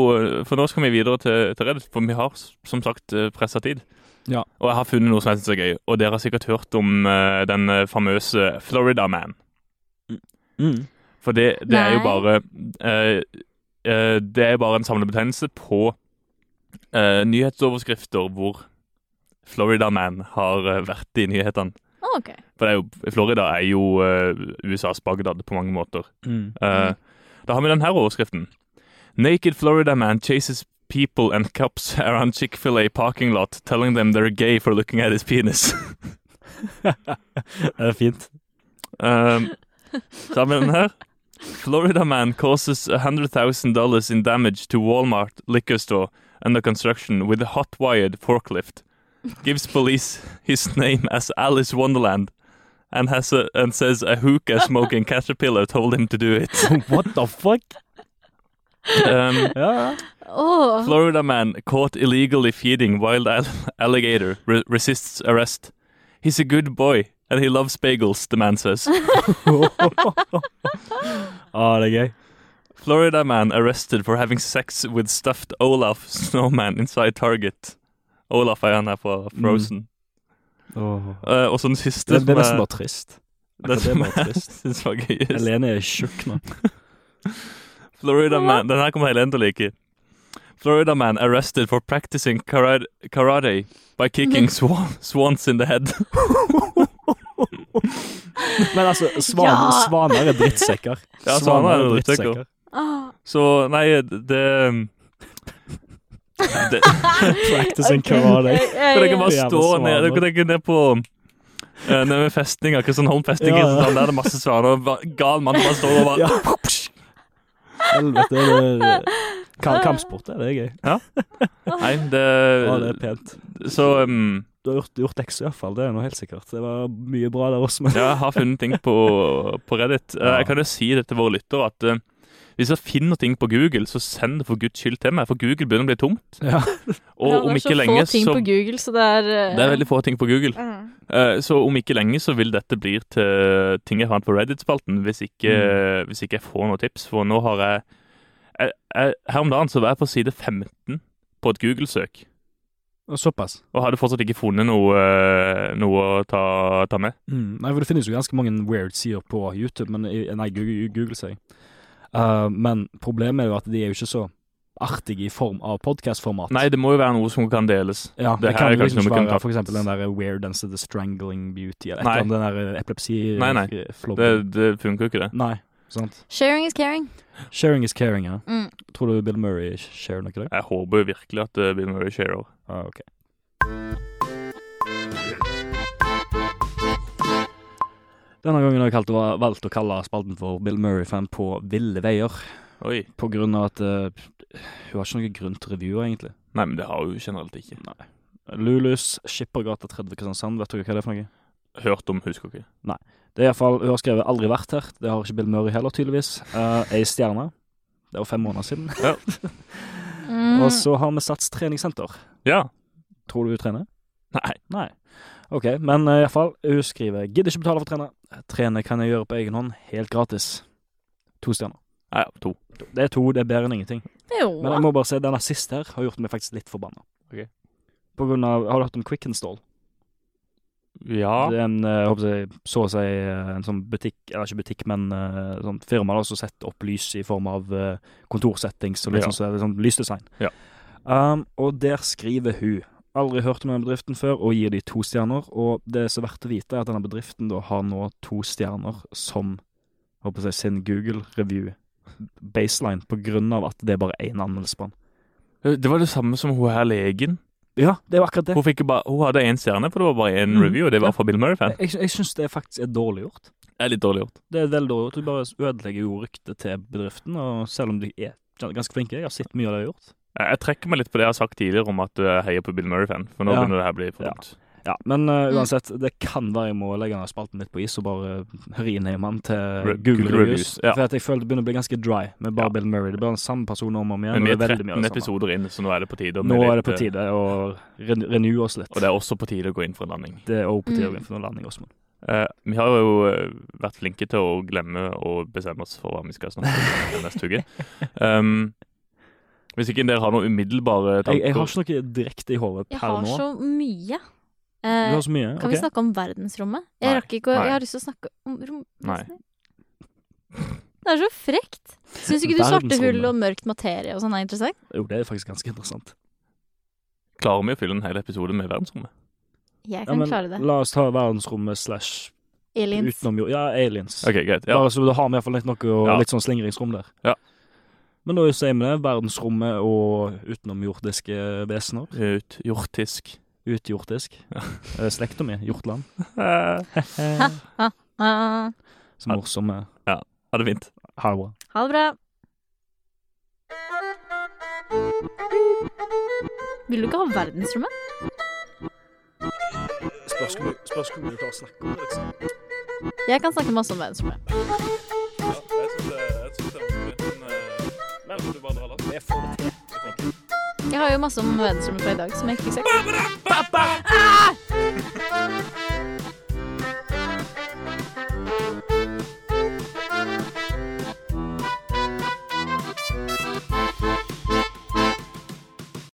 For nå skal vi videre til, til Reddit, for vi har s- som sagt pressa tid. Ja. Og jeg har funnet noe som jeg syns er gøy, og dere har sikkert hørt om eh, den eh, famøse Florida Man. Mm. For det, det er jo Nei. bare eh, eh, Det er bare en samlebetegnelse på eh, nyhetsoverskrifter hvor Florida Man har eh, vært i nyhetene. Å, ok. For det er jo, Florida er jo eh, USAs Bagdad på mange måter. Mm. Eh, Da har vi denne overskriften. Naked Florida man chases people and cups around Chick-fil-A parking lot, telling them they're gay for looking at his penis. Det er fint. um, så har vi den her. Florida man causes $100,000 in damage to Walmart liquor store under construction with a hot-wired forklift. Gives police his name as Alice Wonderland and has a, and says a hookah smoking caterpillar told him to do it. What the fuck? Um, Ja, ja. Åh, Florida man caught illegally feeding wild al- alligator re- resists arrest. He's a good boy and he loves bagels, the man says. ah, det er gøy. Florida man arrested for having sex with stuffed Olaf snowman inside Target. Olaf er han her fra Frozen. Eh, og så den siste Det, det er nesten som bare trist. den Akkurat det er som bare jeg trist. syns var gøyest. Helene er tjukk nå. Florida man Den her kommer Helene til å like. Florida man arrested for practicing karate, karate by kicking swan, swans in the head. Men altså, svan, Ja. svaner er drittsekker. Ja, svaner er drittsekker. åh. Så nei, det det, Practicing Ok. karate. Jeg- jeg- Kan dere bare Jævla stå ned svaner. Dere kan ikke ned på eh, Nede ved festninger, Kristiansholm festninger Ja, ja. sånn, Der er det masse svaner og ba- Gal mann bare står og bare Ja. Helvete, det er Ka- Kampsport, det er gøy. Nei, det, Ja, det er pent. Så um, Du har gjort, gjort lekser iallfall, det er noe helt sikkert. Det var mye bra der også, men ja, jeg har funnet ting på, på Reddit Eh, Ja. Jeg kan jo si det til våre lyttere at eh, hvis jeg finner ting på Google, så send det for Guds skyld til meg, for Google begynner å bli tomt. Ja. Og Ja, det er om så ikke lenge, få ting så på Google, så det er eh, Det er veldig få ting på Google. mm. Eh, Så om ikke lenge så vil dette bli til ting jeg fant på Reddit-spalten, hvis, ikke- hvis ikke jeg får noen tips. For nå har jeg, jeg, jeg Her om dagen så var jeg på side 15 på et Google-søk, Og Såpass. og hadde fortsatt ikke funnet noe, eh, noe å ta, ta med. Mm. Nei, for det finnes jo ganske mange weird sider på YouTube, men i- Nei, Google, Google sier jeg. Eh, men problemet er jo at de er jo ikke så artige i form av podkastformat. Nei, det må jo være noe som kan deles. Ja, Det det, her kan er jo liksom kanskje ikke noe vi kan være ta- for eksempel den der Weird and the Strangling Beauty, eller et Nei. eller annet den der eh, epilepsi... Nei, nei. flobben. Det, det funker jo ikke, det. Nei, sant. Sharing is caring. Sharing is caring, ja. Mm. Tror du Bill Murray sharer noe der? Ah, Jeg håper jo virkelig at eh, Bill Murray sharer. Ah, ok. Denne gangen har jeg kalt, valgt å kalle spalten for Bill Murray-fan på ville veier. Oi. På grunn av at eh, hun har ikke noen grunn til revyer, egentlig. Nei, men det har hun generelt ikke. Nei. Lulus, Skippergata 30 Kristiansand, vet dere hva det er for noe? Hørt om, husker ikke. Det er i hvert fall, Hun har skrevet 'Aldri vært her'. Det har ikke Bill Murray heller, tydeligvis. Uh, Ei stjerne. Det var fem måneder siden. Mm. Og så har vi Sats treningssenter. Ja. Tror du hun trener? Nei. Nei. OK, men eh, i hvert fall, hun skriver 'Gidder ikke betale for å trene'. 'Trene kan jeg gjøre på egen hånd, helt gratis'. To stjerner. Nei, ja, to. Det er to, det er bedre enn ingenting. Jo. Men jeg må bare si, denne siste her har gjort meg faktisk litt forbanna. Ok. På grunn av, har du hørt om Quick Install? Ja. Det er en, eh, jeg håper jeg, så å si, eh, en sånn butikk, eller ikke butikk, men eh, sånn firma da, som setter opp lys i form av eh, kontorsettings og litt Ja. sånn, så er det sånn lysdesign. Ja. Um, og der skriver hun, aldri hørt om denne bedriften før, og gir de to stjerner, og det som er verdt å vite er at denne bedriften da har nå to stjerner som, jeg håper jeg, sin Google-review baseline, på grunn av at det er bare en anmeldelse på den. Det var det samme som hun her legen. Ja, det er jo akkurat det. Hun, fikk jo bare, hun hadde én stjerne, for det var bare én Mm. review, og det var fra Bill Murray-fan. Jeg, jeg syns det faktisk er dårlig gjort. Det er litt dårlig gjort. Det er veldig dårlig gjort. Du bare ødelegger jo ryktet til bedriften, og selv om de er ganske flinke. Jeg har sett mye av det de har gjort. Jeg jeg trekker meg litt på det jeg har sagt tidligere om at du er heier på Bill Murray-fan, for nå Ja. begynner det her å bli for Ja. dumt. Ja, Men eh, Mm. uansett, det kan være jeg må legge denne spalten litt på is og bare eh, ri ned i mann til Re- Google Google Reviews. Reviews, ja. For at jeg føler det begynner å bli ganske dry med bare Ja. Bill Murray. Det blir den samme personen om og om igjen. Men vi og er det er veldig mye 13 av det samme. episoder inn, så nå er det på tide. å bli Nå er det litt, eh, på tide å ren- renew oss litt. Og det er også på tide å gå inn for en landing. Det er også på tide å Mm. gå inn for noen landing, Åsmund. Eh, vi har jo eh, vært flinke til å glemme å bestemme oss for hva vi skal snakke om neste uke. Um, hvis ikke dere har noen umiddelbare Jeg, tanker jeg har ikke noe direkte i hodet Jeg per har nå. så mye. Eh, Du har så mye? kan vi ok. snakke om verdensrommet? Nei. Jeg rakk ikke å Nei. Jeg har lyst til å snakke om rom... Nei. Det er så frekt! Syns ikke du svarte hull Verdensrommet. og mørkt materie og sånn er interessant? Jo, det er faktisk ganske interessant. Klarer vi å fylle en hel episode med verdensrommet? Jeg Ja, kan men klare det. La oss ta verdensrommet slash Aliens. utenom jord. Ja, aliens. Ok, greit. Ja. Bare så du har med iallfall litt noe og Ja. litt sånn slingringsrom der. Ja. Men da sier vi det. Verdensrommet og utenomjordiske vesener. Ut, hjortisk. Utjordisk. Eh, Slekta mi, Hjortland. Eh, Ah, Så morsomme Ha det fint. Ha det bra. ha det bra. Vil du ikke ha verdensrommet? Spørs hvor mye du klarer å snakke om, liksom. Jeg kan snakke masse om verdensrommet. eh, Jeg får det til. Jeg har jo masse om verdensrommet fra i dag som jeg ikke fikk sagt. Ah!